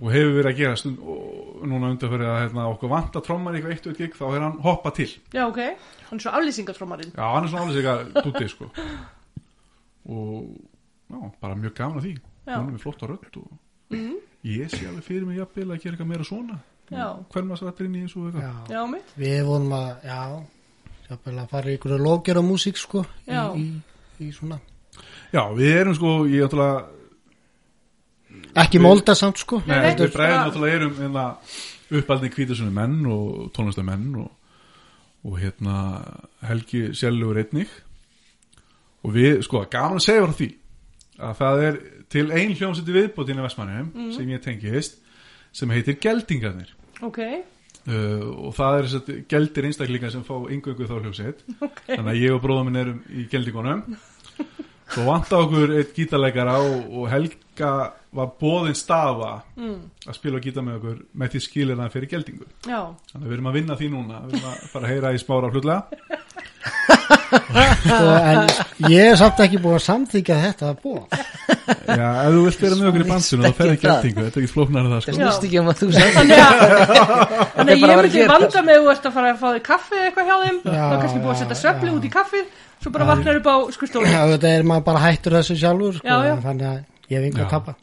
Speaker 2: og hefur verið að gera stund og núna undanferði að hérna, okkur vanta trommari eitthvað eitt og eitt gig þá er hann hoppa til já,
Speaker 1: já, ok. Hann er svo aflýsingatrómarinn.
Speaker 2: hann er svona alveg eitthvað dúti sko og já, bara mjög gaman að því
Speaker 1: Já. Mhm.
Speaker 2: hún er með flott á rödd og ég sé alveg fyrir mig jafnvel að gera eitthvað meira svona
Speaker 1: Já.
Speaker 2: hvern maður sattir inn í eins og eitthvað
Speaker 4: Já.
Speaker 1: Já, mitt.
Speaker 4: Við vorum að, já, sjáfnvel að fara í ykkur lókjara músík sko, í,
Speaker 1: Já.
Speaker 4: í, í svona,
Speaker 2: já, við erum sko, ég ætla
Speaker 4: ekki molda samt sko.
Speaker 1: Nei,
Speaker 2: Nei,
Speaker 1: nei,
Speaker 2: við bregðum
Speaker 1: bara-
Speaker 2: náttúrulega erum hérna, uppaldni kvítasunni menn og tónlistamenn og, og hérna Helgi Sjællugur einnig og við, sko, gaman að segja frá því að það er til ein hljómsætti viðbótinn í Vestmannheim
Speaker 1: Mhm.
Speaker 2: sem ég tengist sem heitir Geldingarnir
Speaker 1: Ok,
Speaker 2: uh, og það er þess að geldir einstaklingar sem fá yngöngu þá hljómsveit þannig að ég og bróðum minn erum í geldingunum svo vanta okkur eitt gítarleikara og, og Helga var bóðin stafa að spila og gítar með okkur með því skilir það fyrir geldingu
Speaker 1: já,
Speaker 2: þannig að við erum að vinna því núna við erum að fara að heyra í smára flutlega
Speaker 4: Sko, en ég er samt ekki búin að samþykja þetta að búa.
Speaker 2: já, ef þú vilt vera með okkur í bandinu þá ferði
Speaker 3: Ekki það.
Speaker 2: geldingu, þetta er ekki flóknar það
Speaker 3: Það
Speaker 2: sko.
Speaker 1: Já.
Speaker 3: snýst ekki um að þú sagði
Speaker 1: þannig að, þannig að
Speaker 3: bara
Speaker 1: ég
Speaker 3: að vera
Speaker 1: myndi
Speaker 3: hér,
Speaker 1: vanda með þú ert að fara að fá þig kaffi eða eitthvað hjá þeim þá er kannski búið að
Speaker 4: já,
Speaker 1: setja svefli út í kaffið svo bara vaknar upp á skurstofunni
Speaker 4: Já, þetta er maður bara hættur þessu sjálfur sko,
Speaker 1: Já, já.
Speaker 4: en þannig að ég hef yngur
Speaker 2: Já.
Speaker 4: kappa.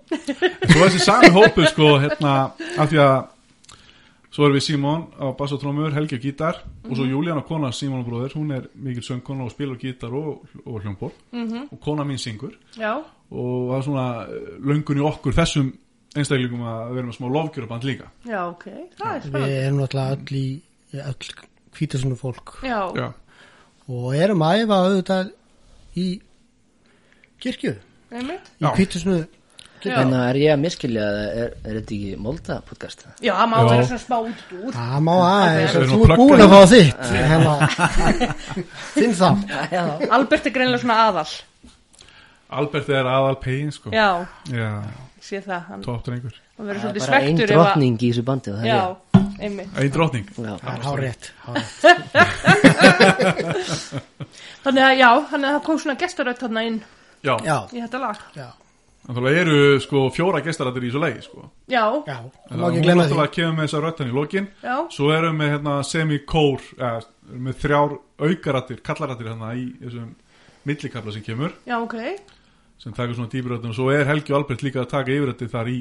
Speaker 2: svo þessi sami hópu sko, hérna, af því að Svo erum við Simon á bass og trómur, Helgi og gítar og
Speaker 1: Mhm.
Speaker 2: svo Júlíana kona Simon og bróðir, hún er mikil söngkona og spilar gítar og, og hljómbor
Speaker 1: Mhm.
Speaker 2: og kona mín syngur
Speaker 1: Já,
Speaker 2: og það er svona eh, löngun í okkur þessum einstaklingum að vera með smá lofgjöraband líka.
Speaker 1: já, ok, það er
Speaker 4: Við
Speaker 1: spennandi.
Speaker 4: erum náttúrulega öll í öll hvítasunum fólk
Speaker 1: Já, já,
Speaker 4: og erum að æfa auðvitað í kirkju í
Speaker 1: einmitt.
Speaker 2: Já.
Speaker 4: hvítasunum
Speaker 1: Já,
Speaker 3: En er ég að miskilja eða er, er þetta ekki Molda podcast?
Speaker 1: já það má
Speaker 2: Já.
Speaker 1: vera svona smá út úr.
Speaker 4: Það má aðeins,
Speaker 2: Við erum
Speaker 4: þú
Speaker 2: að
Speaker 4: er
Speaker 2: plugga
Speaker 4: búin
Speaker 2: í-
Speaker 4: að fá þitt hérna, þinn þá
Speaker 1: Albert er greinlega svona aðal.
Speaker 2: Albert er aðal pegin sko.
Speaker 1: Já,
Speaker 2: Já,
Speaker 1: ég sé það, hann,
Speaker 2: top drengur.
Speaker 1: hann verður
Speaker 3: Það
Speaker 1: svolítið
Speaker 3: er bara ein
Speaker 1: svektur ef að...
Speaker 3: drottning í þessu bandi og það
Speaker 1: Já,
Speaker 3: er
Speaker 1: einmitt.
Speaker 2: Einn drotning.
Speaker 3: ég. Já.
Speaker 4: Hárétt, hárétt
Speaker 1: Þannig að já, þannig að það kom svona gestarödd þarna inn
Speaker 2: Já,
Speaker 4: Já,
Speaker 1: í þetta lag.
Speaker 4: já,
Speaker 2: en það eru sko fjóra gestarættir í þessu lagi sko.
Speaker 1: Já,
Speaker 4: já
Speaker 2: En
Speaker 4: Má
Speaker 2: hún
Speaker 4: ekki
Speaker 2: er
Speaker 4: glemma því
Speaker 2: náttúrulega að kemur með þessar röttan í lokin
Speaker 1: já,
Speaker 2: Svo erum við hérna, semi-kór eða, erum við þrjár aukarattir kallarattir hérna í þessum millikafla sem kemur
Speaker 1: já, ok.
Speaker 2: sem taka svona dýpiröttin og svo er Helgi og Albert líka að taka yfirrætti þar í,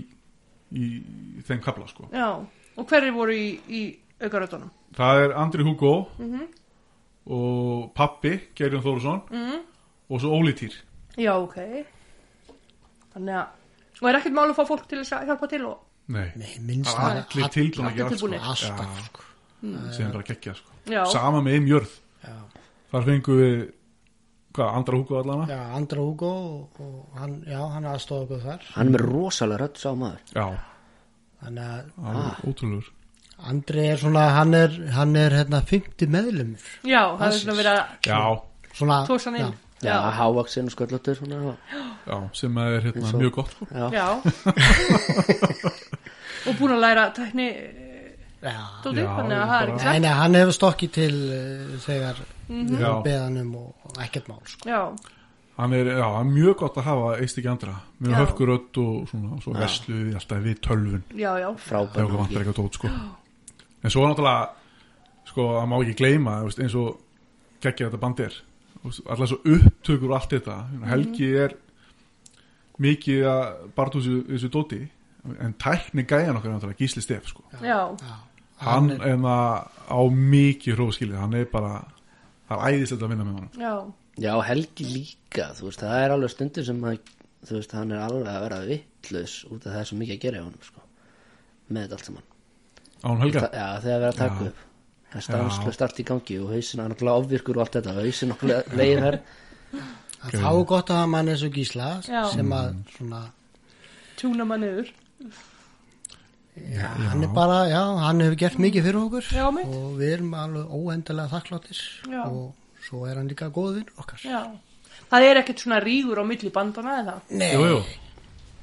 Speaker 2: í þeim kafla sko.
Speaker 1: Já, og hverju voru í, í aukaröddunum?
Speaker 2: Það er Andri Hugo og pappi Gerjón Þórsson og svo Óli Týr
Speaker 1: Já, ok. Þannig að, og er ekkert mál að fá fólk til þess að hjálpa til og...
Speaker 2: Nei,
Speaker 4: Nei, minnst
Speaker 2: það er
Speaker 4: það
Speaker 2: allir tilbúin að
Speaker 1: allir
Speaker 2: gera allt,
Speaker 1: tilbúnir.
Speaker 2: sko. Já.
Speaker 4: Alltaf, sko
Speaker 2: sem bara gekkja sko.
Speaker 1: Já,
Speaker 2: sama með einn jörð
Speaker 4: Já.
Speaker 2: þar fengum við hvað, Andra Hugo allana
Speaker 4: Já, Andra Hugo og, og hann, já, hann aðstofa okkur þar
Speaker 3: Hann er með rosalega rödd sá maður.
Speaker 2: já,
Speaker 4: Þannig að
Speaker 2: ah. ótrúlegur
Speaker 4: Andri er svona, hann er, hann er hérna 50 meðlumur
Speaker 1: já, það er svona verið að
Speaker 2: já,
Speaker 4: Svona,
Speaker 1: tósa hann inn.
Speaker 3: Já, hávaksin og sköllóttur svona. og-
Speaker 2: já, sem að er hérna,
Speaker 3: Eins og-
Speaker 2: mjög gott sko.
Speaker 3: Já.
Speaker 1: Já Og búin að læra tækni
Speaker 4: já
Speaker 1: Dóti,
Speaker 2: Já,
Speaker 1: þannig að það er
Speaker 2: bara-
Speaker 1: ekki
Speaker 4: Nei,
Speaker 1: slæmt
Speaker 4: nei, hann hefur stokkið til uh, þegar við
Speaker 2: Mhm. Já.
Speaker 4: erum beðanum og, og ekkert mál, sko
Speaker 1: Já,
Speaker 2: hann er, já, hann er mjög gott að hafa eist ekki andra, mjög
Speaker 1: Já.
Speaker 2: höfkurödd og svona, svo verslu við alltaf við tölvun
Speaker 1: já, já
Speaker 2: þegar
Speaker 3: Frábær.
Speaker 2: okkur vantar
Speaker 3: náungi.
Speaker 2: eitthvað tótt sko. en svo er náttúrulega sko, að má ekki gleyma þú veist, eins og geggja þetta band er Þú veist, allar svo upptökur og allt þetta Helgi er mikið að barðhúsi þessu dóti en tækni gæjan okkar er náttúrulega gísli stef sko.
Speaker 1: Já,
Speaker 4: Já,
Speaker 2: hann er það á mikið hróskilið, hann er bara það er æðislegt að vinna með honum
Speaker 1: já,
Speaker 3: Já, Helgi líka, þú veist, það er alveg stundur sem að, þú veist, hann er alveg að vera vittlaus út af það er svo mikið að gera hjá honum, sko. Með þetta allt saman.
Speaker 2: án Helga,
Speaker 3: Það- Já, þegar verið að taka upp. Það er stanslust allt í gangi og hausin er náttúrulega ofvirkur og allt þetta. Hausin náttúrulega leið þær.
Speaker 4: En þá er gott að hafa mann eins og Gísla
Speaker 1: Já.
Speaker 4: sem að svona,
Speaker 1: tjúna maður niður
Speaker 4: já, hann er bara, já, hann hefur gert mikið fyrir okkur
Speaker 1: Já, mitt.
Speaker 4: og við erum alveg óendalega þakkláttir
Speaker 1: Já.
Speaker 4: og svo er hann líka góð vinn okkar.
Speaker 1: Já Það er ekkert svona rígur á milli bandana eða
Speaker 4: Nei,
Speaker 2: jú, jú,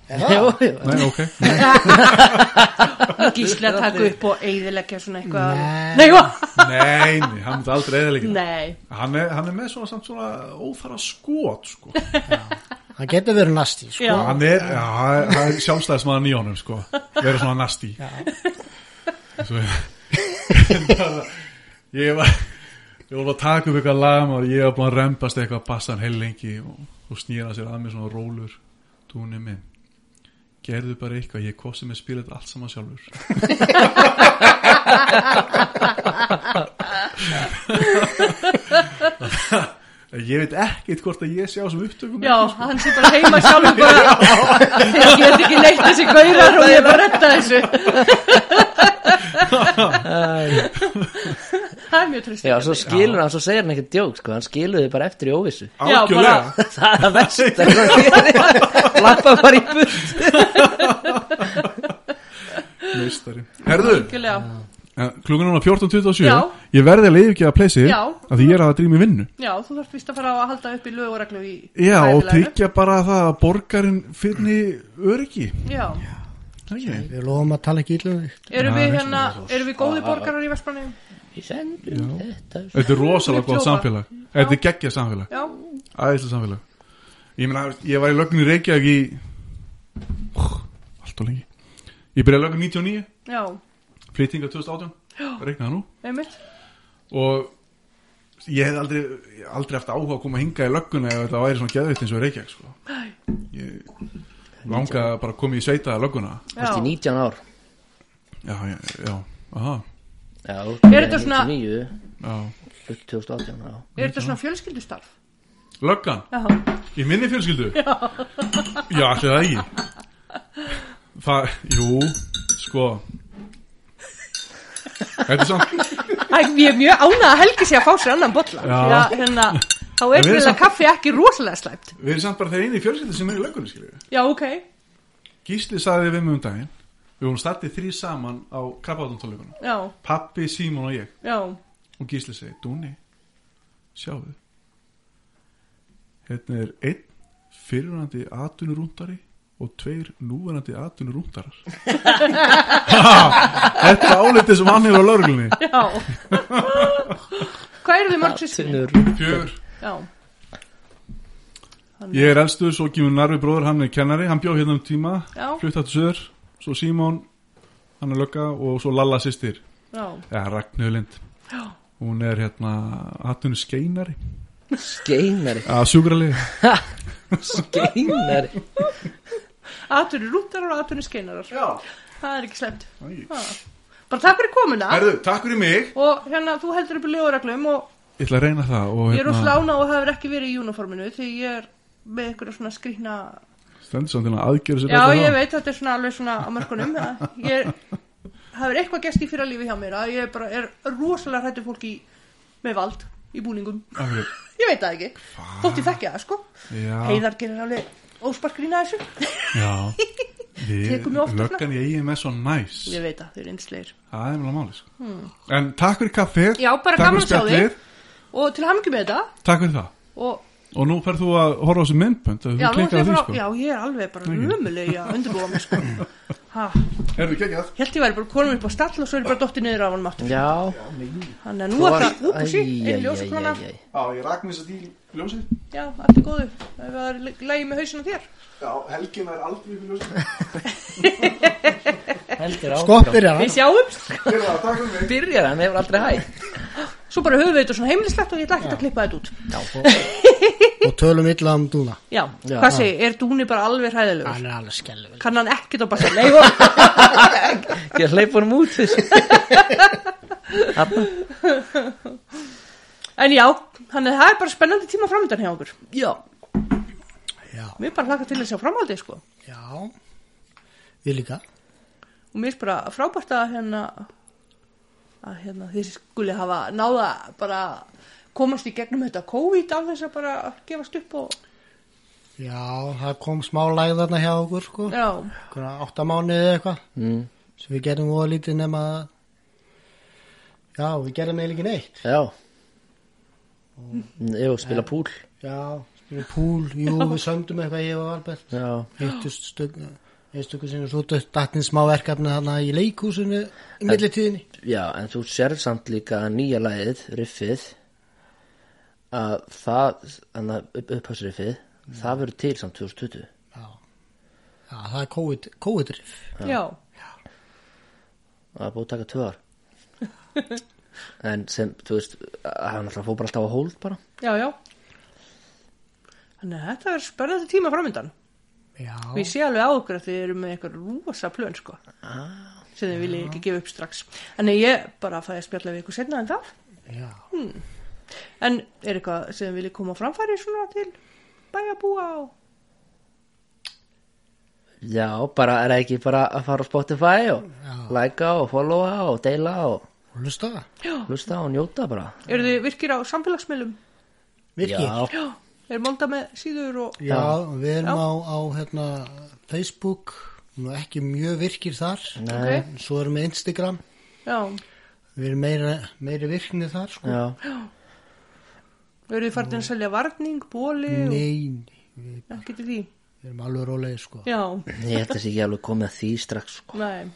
Speaker 3: Jú, jú.
Speaker 2: nei, ok
Speaker 1: Gísli að taka upp og eyðileggja svona eitthvað
Speaker 4: Nei.
Speaker 1: Nei, hva?
Speaker 2: nei, nei, hann er aldrei eðalegin
Speaker 1: Nei,
Speaker 2: hann er, hann er með svona samt svona óþara skot sko.
Speaker 4: hann getur verið nasti, sko.
Speaker 1: já,
Speaker 2: hann er, já, hann er- hann er sjálfstæðismann í honum sko. verið svona nasti svo ég var ég var að taka upp eitthvað lagum og ég var búin að rempast eitthvað bassan heil lengi og þú snýra sér að mér svona rólur túnir minn gerðu bara eitthvað, ég kosti mig að spila þetta allt saman sjálfur ég veit ekkert hvort að ég sjá sem upptökum
Speaker 1: já, hann sé bara heima sjálfur bara Ég get ekki neitt þessi gaurar og ég er bara að retta þessu Það er mjög trist
Speaker 3: Já, svo skilur hann, svo segir hann ekkert djók, sko. Hann skilur þið bara eftir í óvissu.
Speaker 1: Já,
Speaker 2: algjörlega
Speaker 1: bara-
Speaker 3: Það er að versta. Lappa bara í burt.
Speaker 2: Meistari Herðu, eh,
Speaker 1: Algjörlega.
Speaker 2: klukkan núna 14.27
Speaker 1: Já.
Speaker 2: Ég verði að leiði ekki að pleysi
Speaker 1: Já.
Speaker 2: að því ég er að drýma í vinnu
Speaker 1: Já, þú þarfst vist að fara að halda upp í lög og reglu í
Speaker 2: Já, og
Speaker 1: þægileginu.
Speaker 2: tryggja bara það að borgarinn finni öryggi
Speaker 1: Já,
Speaker 2: okay.
Speaker 4: Við lofum að tala ekki illa um þig.
Speaker 1: erum
Speaker 2: Já,
Speaker 1: við
Speaker 2: veistum
Speaker 1: hérna, erum við góði borgarar í Vestmanni?
Speaker 3: Við sendum þetta.
Speaker 2: Þetta er rosalega
Speaker 1: Við
Speaker 2: góð
Speaker 1: tjófa.
Speaker 2: samfélag Þetta er geggjað samfélag,
Speaker 1: Já,
Speaker 2: æðislega samfélag Ég meina, ég var í lögn í Reykjavík í Allt og lengi Ég byrjaði lögn 99,
Speaker 1: já,
Speaker 2: flyttinga 2018 Reiknaði nú
Speaker 1: einmitt
Speaker 2: Og ég hef aldrei, ég hef aldrei haft áhuga að koma að hinga í lögguna ef þetta væri svona geðvitt eins og í Reykjavík sko. Ég langaði bara að koma í sveita lögguna
Speaker 1: Já,
Speaker 3: Þú veist, í 19 ár.
Speaker 2: Já, já, já Aha,
Speaker 3: Já,
Speaker 1: Er þetta svona-
Speaker 3: 99,
Speaker 2: já.
Speaker 3: upp 2018 já.
Speaker 1: Er þetta svona fjölskyldustarf?
Speaker 2: Löggan,
Speaker 1: Já,
Speaker 2: í minni fjölskyldu? Já. Já, allir það ekki. Það, jú, sko. Þetta er samt,
Speaker 1: Æ, ég er mjög ánað að Helgi sé að fá sér annan bolla
Speaker 2: Já.
Speaker 1: Því að, hérna, þá
Speaker 2: En
Speaker 1: er
Speaker 2: við erum
Speaker 1: fyrir
Speaker 2: samt-
Speaker 1: kaffi ekki rosalega slæmt
Speaker 2: við erum samt bara þeir einu í fjölskyldu sem er í löggunni, skiljum við.
Speaker 1: Já, ok
Speaker 2: Gísli saði við mig um daginn, við vorum startið þrý saman á krabbátum tónleikunum.
Speaker 1: Já,
Speaker 2: Pappi, Símon og ég.
Speaker 1: já,
Speaker 2: Og Gísli segi, Dúni, sjáðu Hérna er einn fyrirvænandi atunurúndari og tveir núverandi atunurúndarar Þetta álitið sem hann hefur á lauruglunni
Speaker 1: já Hvað eru þið mörg sýstinni?
Speaker 3: Atvinnur
Speaker 2: Fjör
Speaker 1: Já,
Speaker 2: Ég er elstur, svo kemur Narvi bróður, hann er kennari Hann bjó hérna um tíma,
Speaker 1: Já.
Speaker 2: fluttat söður Svo Símon, hann er lögga Og svo Lalla systir,
Speaker 1: já,
Speaker 2: eða Ragnhjöð Lind Hún er hérna atunur skeinari
Speaker 3: Skeinari
Speaker 2: Að sjúkralegi
Speaker 3: Skeinari
Speaker 1: atunni rúttarar og atunni skeinarar
Speaker 2: Já,
Speaker 1: Það er ekki slæmt
Speaker 2: Æ.
Speaker 1: Bara takk fyrir komuna
Speaker 2: Herðu, takk fyrir mig
Speaker 1: Og hérna, þú heldur upp í lögureglum og
Speaker 2: Ég ætla að reyna það og hérna,
Speaker 1: ég er úr slána og hefur ekki verið í uniforminu því ég er með einhverja svona skrýtna
Speaker 2: stendur samt til að aðgjöra sér
Speaker 1: Já,
Speaker 2: eftir
Speaker 1: ég
Speaker 2: það.
Speaker 1: veit, þetta er svona alveg svona á mörkunum að ég hefur eitthvað gest í fyrra lífi hjá mér að ég bara er rosalega hrættu fólki með vald í búningum
Speaker 2: Af hverju?
Speaker 1: Ég veit það ekki, þótt ég þekki það sko
Speaker 2: Já,
Speaker 1: Heiðar gerir alveg ósparkrýna þessu
Speaker 2: já. Við,
Speaker 1: Tekur mig oft
Speaker 2: löggan í eigin með svo næs
Speaker 1: Ég veit það, þau eru einsleir
Speaker 2: Það er mjög máli sko. En takk fyrir kaffið
Speaker 1: Já, bara
Speaker 2: takk
Speaker 1: gaman að
Speaker 2: fyrir
Speaker 1: sjá
Speaker 2: spjallið,
Speaker 1: Og til hamingjum með þetta
Speaker 2: Takk fyrir það
Speaker 1: og
Speaker 2: Og nú ferð þú að horfa á þessu myndbönd að
Speaker 1: Já,
Speaker 2: Þú
Speaker 1: nú ætla
Speaker 2: klikkar
Speaker 1: ég
Speaker 2: að því
Speaker 1: bara,
Speaker 2: sko
Speaker 1: já, ég er alveg bara
Speaker 2: Ekki.
Speaker 1: nömuleg að undirbúa mig sko. Ha,
Speaker 2: Herðu, geggjað
Speaker 1: Helt ég væri bara konum upp á stall og svo er ég bara dotti niður af hann matur
Speaker 3: Já
Speaker 1: Þannig að nú er það, hú, sí, einn ljósakrona
Speaker 3: æ, æ, æ.
Speaker 2: Já, ég rak mér þess að því ljósið
Speaker 1: Já, allt er góðu, ef það er lægi með hausinu þér
Speaker 2: Já, helgin er aldrei fyrir ljósið
Speaker 3: Heldur áfram
Speaker 4: Skoppir er
Speaker 1: Við sjáumst,
Speaker 2: Fyrir það, takk fyrir mig
Speaker 3: Byrjar hann, hefur aldrei hægt
Speaker 1: svo bara höfum við þetta svona heimilislegt og ég ætla ekkert að klippa þetta út
Speaker 4: og tölum illa um dúna
Speaker 1: Já,
Speaker 3: Já.
Speaker 1: hvað segi, er Dúni bara alveg hræðilegur?
Speaker 4: Hann er alveg skelluvel
Speaker 1: Kann hann ekkert á bara Nei, og-
Speaker 3: Ég hleyp honum út þessu
Speaker 1: En já, þannig að það er bara spennandi tíma framöndan hjá okkur
Speaker 3: Já
Speaker 4: Já,
Speaker 1: Mér er bara hlaka til að sjá framhaldið sko
Speaker 4: já Við líka
Speaker 1: og mér er bara frábært að hérna að hérna þeir skuli hafa náða bara komast í gegnum þetta COVID af þess að bara gefast upp og
Speaker 4: Já, það kom smá læð þarna hjá okkur sko
Speaker 1: já,
Speaker 4: Hvernig áttamánuði eða eitthvað
Speaker 3: mm.
Speaker 4: sem við gerum voða lítið nema að- Já, við gerum eiginlega ekki neitt
Speaker 3: Já Mm, Jú, spila púl
Speaker 4: Já, spilum púl, jú, við sömdum eitthvað ég og Albert
Speaker 3: Já
Speaker 4: hittust stögn einstöku sinni og svo dattinn smá verkefni þarna í leikúsinu í millitíðinni
Speaker 3: Já, en þú sérð samt líka að nýja lagið, riffið að það hann að upp, upphásriffið það verður til samt 2020
Speaker 4: já. já, það er COVID, COVID-rif
Speaker 1: já,
Speaker 3: það er búið að taka tvö ár en sem, þú veist að hann alltaf fór bara alltaf á hold bara
Speaker 1: já, já þannig að þetta er spennandi tíma framöndan
Speaker 4: já,
Speaker 1: við sé alveg á okkur að þið eru með eitthvað rosa plön sko sem þið viljið ekki gefa upp strax þannig að ég bara fæði að spjalla við ykkur setna en það
Speaker 4: já.
Speaker 1: en er eitthvað sem þið viljið koma á framfæri svona til bæjabúa og
Speaker 3: já, bara er það ekki bara að fara á Spotify og likea og followa og deila og
Speaker 4: og hlusta það
Speaker 3: hlusta og njóta bara
Speaker 1: eru þið virkir á samfélagsmiðlum
Speaker 4: virkið já.
Speaker 3: já,
Speaker 1: er málda með síður og
Speaker 4: og við erum
Speaker 1: Já.
Speaker 4: á, á hérna, Facebook nú ekki mjög virkir þar
Speaker 3: nei,
Speaker 4: svo erum við Instagram
Speaker 1: já,
Speaker 4: við erum meira, meiri virkni þar sko.
Speaker 3: já,
Speaker 1: eru þið farin að selja varning, bóli og
Speaker 4: nei, við,
Speaker 1: ekki til því
Speaker 4: við erum alveg rólegir sko.
Speaker 1: já,
Speaker 3: ég held að sé ekki alveg komið að því strax sko.
Speaker 1: nei,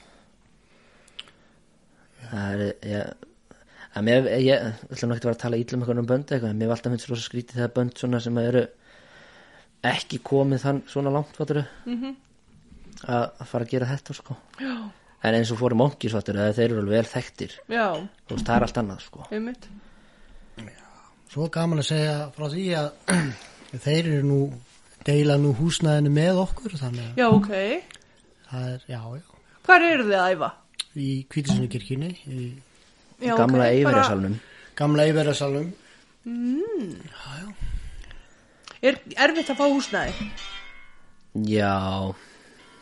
Speaker 3: það er, ég að mér, ég, ég ætla nú ekki að vera að tala ítlum eitthvað um bönd eitthvað, en mér var alltaf finnst rosa skrítið þegar bönd svona sem eru ekki komið þann svona langt fattur mm
Speaker 1: Mhm.
Speaker 3: að að fara að gera þetta sko Já. en eins og fórum onkis fattur að þeir eru alveg vel þekktir
Speaker 1: já,
Speaker 3: þú veist, það er allt annað sko
Speaker 1: einmitt
Speaker 4: svo gaman að segja frá því að þeir eru nú deila nú húsnæðinu með okkur þannig að
Speaker 1: já, ok,
Speaker 4: það er, já, já
Speaker 1: hvar eru þið að æfa?
Speaker 4: í Kvítisunukirkjunni í
Speaker 1: Já,
Speaker 3: gamla
Speaker 1: ok, bara-
Speaker 3: Eyverjarsalnum
Speaker 4: gamla Eiferasalum
Speaker 1: Er erfitt að fá húsnæði?
Speaker 3: já,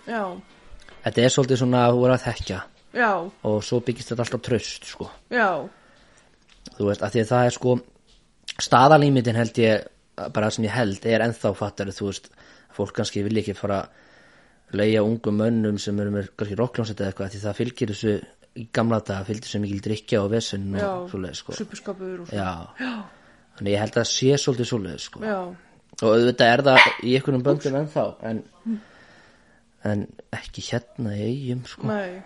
Speaker 1: Já,
Speaker 3: þetta er svolítið svona að þú er að þekkja
Speaker 1: já,
Speaker 3: og svo byggist þetta alltaf tröst sko.
Speaker 1: já,
Speaker 3: þú veist, af því að það er sko staðalímitin held ég bara sem ég held er ennþá fattari þú veist, fólk kannski vilja ekki fara að leigja ungum mönnum sem eru með kannski rockljónsett eða eitthvað af því það fylgir þessu í gamla dag fylgir þessu mikil drikja og vesen
Speaker 1: já.
Speaker 3: og svoleið sko
Speaker 1: Superskapur og svo.
Speaker 3: já. þannig ég held að það sé svolítið svoleið sko
Speaker 1: Já,
Speaker 3: og auðvitað er það í einhvernum böndum ennþá en, en ekki hérna í eigum sko
Speaker 1: nei.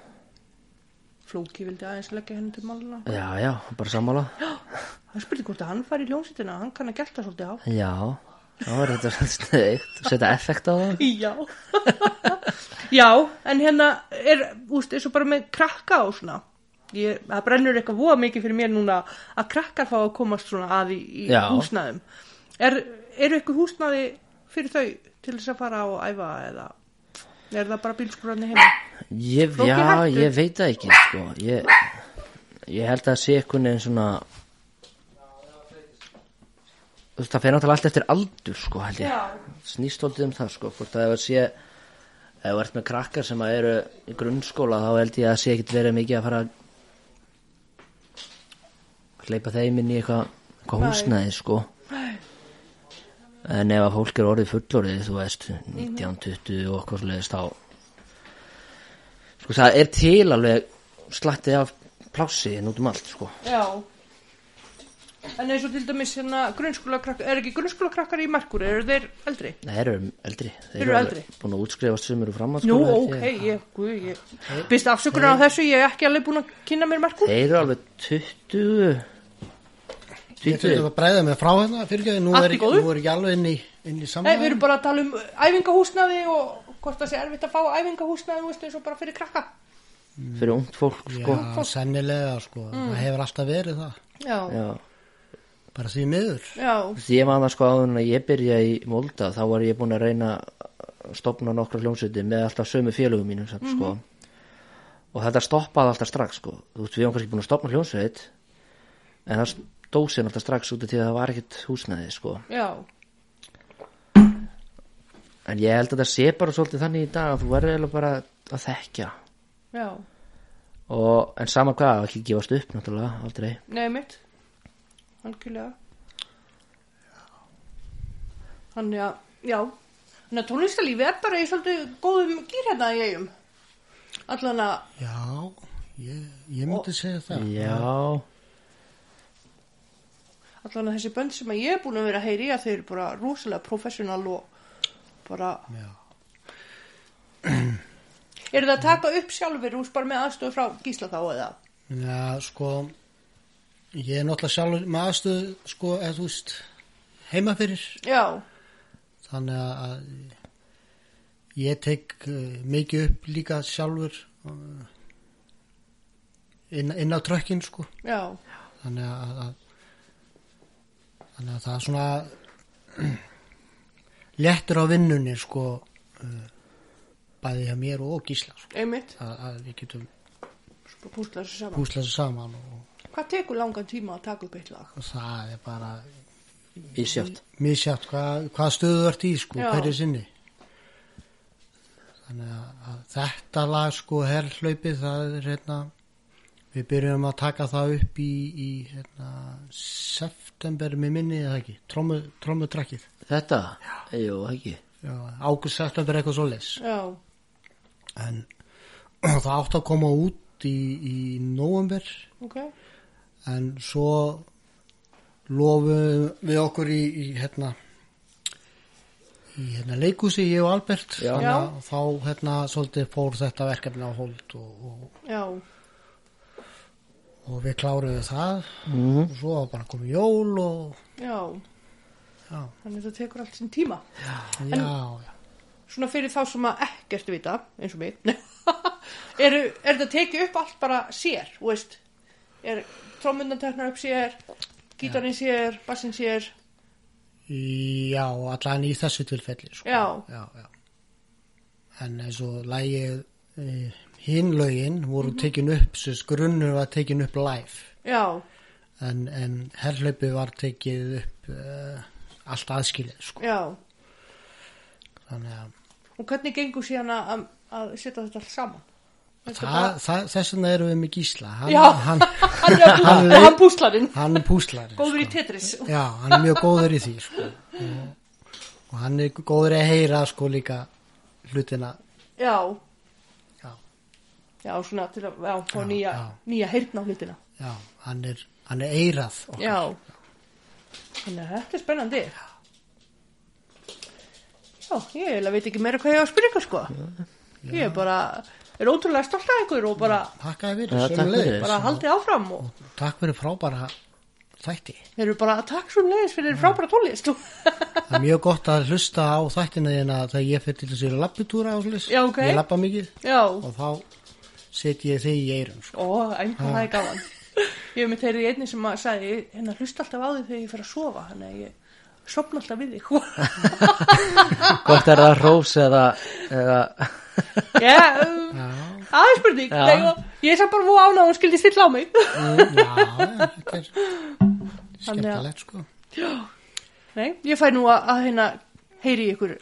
Speaker 1: Flóki vildi aðeins leggja henni til máluna.
Speaker 3: já, já, bara sammála
Speaker 1: Það spurði hvort að hann fari í hljómsýtina, hann kann að gelta svolítið á.
Speaker 3: já, þá er þetta sniðugt setja effekt á það
Speaker 1: Já. já, en hérna er, úst, er svo bara með krakka og svona. Ég, það brennur eitthvað voða mikið fyrir mér núna að krakkar fá að komast svona að í, í
Speaker 3: Já.
Speaker 1: húsnæðum. Er, eru eitthvað húsnæði fyrir þau til þess að fara og æfa eða er það bara hérna? bílskúrarni heima?
Speaker 3: Ég,
Speaker 1: Flóki
Speaker 3: já,
Speaker 1: hættu.
Speaker 3: ég veit það ekki sko. ég, ég held að það sé einhvern veginn svona Þú veist, það fer náttúrulega allt eftir aldur sko, held ég
Speaker 1: Já.
Speaker 3: snýst svolítið um það sko, hvort að ef að sé ef þú ert með krakkar sem að eru í grunnskóla þá held ég að sé ekkit verið mikið að fara að hleypa þeim inn í eitthvað eitthvað húsnæði sko en ef að fólk er orðið fullorðið þú veist,
Speaker 1: Mhm.
Speaker 3: 1920 og eitthvað sliðist þá sko það er til alveg slattið af plássi en út um allt sko
Speaker 1: Já. En eins og til dæmis hérna grunnskóla krakkar, er ekki grunnskóla krakkar í merkúri, eru þeir eldri?
Speaker 3: Nei, þeir eru eldri Þeir
Speaker 1: Eru
Speaker 3: alveg
Speaker 1: eldri.
Speaker 3: Búin að útskrifast sem eru
Speaker 1: Nú,
Speaker 3: framhaldsskóla held
Speaker 1: ok,
Speaker 3: ég.
Speaker 1: ég, guð, ég, býst afsökunar á þessu, ég hef ekki alveg búin að kynna mér merkúr.
Speaker 3: Þeir eru alveg 20
Speaker 4: ég fyrir
Speaker 3: 20
Speaker 4: að bræða mig frá hérna fyrir ekki, nú
Speaker 1: Allt
Speaker 4: er,
Speaker 1: í
Speaker 4: ég-
Speaker 1: góðu.
Speaker 4: nú er ekki alveg inn í, inn í
Speaker 1: Nei, við
Speaker 4: samræðan
Speaker 1: erum bara að tala um æfingahúsnaði og hvort það sé erfitt að fá æfingahúsnaði, þú veist, eins og bara fyrir krakka.
Speaker 3: fyrir ungt fólk sko
Speaker 4: já, sennilega sko,
Speaker 1: Mm.
Speaker 4: það hefur alltaf verið það
Speaker 1: Já, já,
Speaker 3: Já.
Speaker 4: bara því miður
Speaker 1: já,
Speaker 3: Því ég maður sko áður en að ég byrja í Molda þá var ég búin að reyna að stopna nokkra hljómsveiti með alltaf sömu félögum mínum samt, sko. og þetta stoppaði alltaf strax sko. þú veist við erum kannski búin að stopna hljómsveit en það stóð sér alltaf strax út af því að það var ekkert húsnæði sko.
Speaker 1: já,
Speaker 3: en ég held að það sé bara svolítið þannig í dag að þú verður eiginlega bara að þekkja
Speaker 1: já,
Speaker 3: og, en sama hvað, ekki gefast upp náttúrulega aldrei
Speaker 1: nei mitt, algjörlega. Þannig að, já, þannig að tónlistalífi er bara í svolítið góðum gýr hérna í eigum. Allan að,
Speaker 4: já, ég, ég myndi segja það
Speaker 3: Já,
Speaker 1: allan að þessi bönd sem að ég er búin að vera að heyri, að þau eru bara rosalega professional og bara...
Speaker 4: Já.
Speaker 1: Eru það að taka upp sjálfur úr bara með aðstofu frá gísla þá eða?
Speaker 4: Já, sko ég er náttúrulega sjálfur með aðstöðu sko, eða þú veist heima fyrir,
Speaker 1: Já,
Speaker 4: þannig að- að ég tek uh, mikið upp líka sjálfur uh, inn, inn á trökkinn sko,
Speaker 1: já,
Speaker 4: þannig að, að þannig að það er svona léttur á vinnunni sko uh, bæði hjá mér og gísla sko,
Speaker 1: einmitt,
Speaker 4: að, að við getum
Speaker 1: bara púsla þessu saman.
Speaker 4: púsla þessu saman og,
Speaker 1: Hvað tekur langan tíma að taka upp eitt lag?
Speaker 4: og það er bara
Speaker 3: ísjátt
Speaker 4: misjátt hvað, hvað stöðu þú ert í sko,
Speaker 1: Já.
Speaker 4: hverju sinni þannig að að þetta lag sko herrhlaupið það er hérna við byrjum að taka það upp í, í hérna, september með minni eða ekki, trommu, trommudrakkið
Speaker 3: Þetta, jú ekki
Speaker 4: águst september eitthvað svo les
Speaker 1: Já,
Speaker 4: en það átt að koma út í, í november
Speaker 1: ok,
Speaker 4: en svo lofum við okkur í, í hérna í hérna leikúsi ég og Albert
Speaker 3: Já.
Speaker 4: þannig að þá hérna svolítið fór þetta verkefni á hold og, og,
Speaker 1: já,
Speaker 4: og við kláruðum það
Speaker 3: Mhm.
Speaker 4: og svo var bara komið jól og
Speaker 1: já,
Speaker 4: já,
Speaker 1: þannig það tekur allt sinn tíma.
Speaker 4: já, já.
Speaker 1: Svona fyrir þá sem að ekkert vita, eins og mig, eru, er það tekið upp allt bara sér, þú veist? Er trómundan teknar upp sér, gítarinn sér, bassinn sér,
Speaker 4: já allan í þessu tilfelli sko.
Speaker 1: Já.
Speaker 4: Já, já. en eins og lægið eh, hinn lögin voru tekin upp sem grunnur var tekin upp live
Speaker 1: Já,
Speaker 4: en, en herrlaupi var tekið upp uh, allt aðskilið sko.
Speaker 1: já.
Speaker 4: þannig að
Speaker 1: Og hvernig gengur síðan að- að, að setja þetta alls saman? Þetta
Speaker 4: Þa,
Speaker 1: bara-
Speaker 4: það, þess vegna erum við með Gísla hann,
Speaker 1: Já.
Speaker 4: hann,
Speaker 1: Hann er að
Speaker 4: Hann
Speaker 1: púsla,
Speaker 4: leit-
Speaker 1: hann púslarinn.
Speaker 4: hann er púslari
Speaker 1: Góður í Tetris.
Speaker 4: já, hann er mjög góður í því sko. og, og hann er góður í að heyra sko líka hlutina
Speaker 1: Já,
Speaker 4: já,
Speaker 1: já, svona til að já, fá nýja,
Speaker 4: já.
Speaker 1: nýja heyrn á hlutina.
Speaker 4: já, hann er, hann er eirað okkar.
Speaker 1: Já. Þannig að þetta er spennandi. Já, ég eiginlega veit ekki meira hvað ég á að spyrja ykkur sko. Ég er bara, er ótrúlega stolt af ykkur og bara,
Speaker 4: takk fyrir,
Speaker 3: Já, takk
Speaker 4: sömuleiðis.
Speaker 3: fyrir.
Speaker 1: bara haldið áfram og
Speaker 4: takk fyrir frábæra þætti
Speaker 1: þeir eru bara að takk svo leiðis fyrir frábæra tólist.
Speaker 4: það er mjög gott að hlusta á þættina þína þegar ég fyrir til þessu lapputúra og svoleiðis.
Speaker 1: Já, ok.
Speaker 4: ég lappa mikið
Speaker 1: Já,
Speaker 4: og þá set ég þig í eirum sko.
Speaker 1: ó, einhvern það er gaman. Ég hef mitt heyrið í einni sem að sagði, ég- hérna hlusta alltaf á því þegar ég fer að sofa, þannig að ég sopna alltaf við þig. sko.
Speaker 3: Hvort er það rós eða, eða
Speaker 1: Já, um, það er spurning.
Speaker 3: Já.
Speaker 1: Nei, og Ég er samt bara vó án að hún skildi stilla á mig.
Speaker 4: já, þetta er
Speaker 1: Þannig að-
Speaker 4: skemmtilegt sko
Speaker 1: Nei, ég fæ nú að, að hérna heyri í ykkur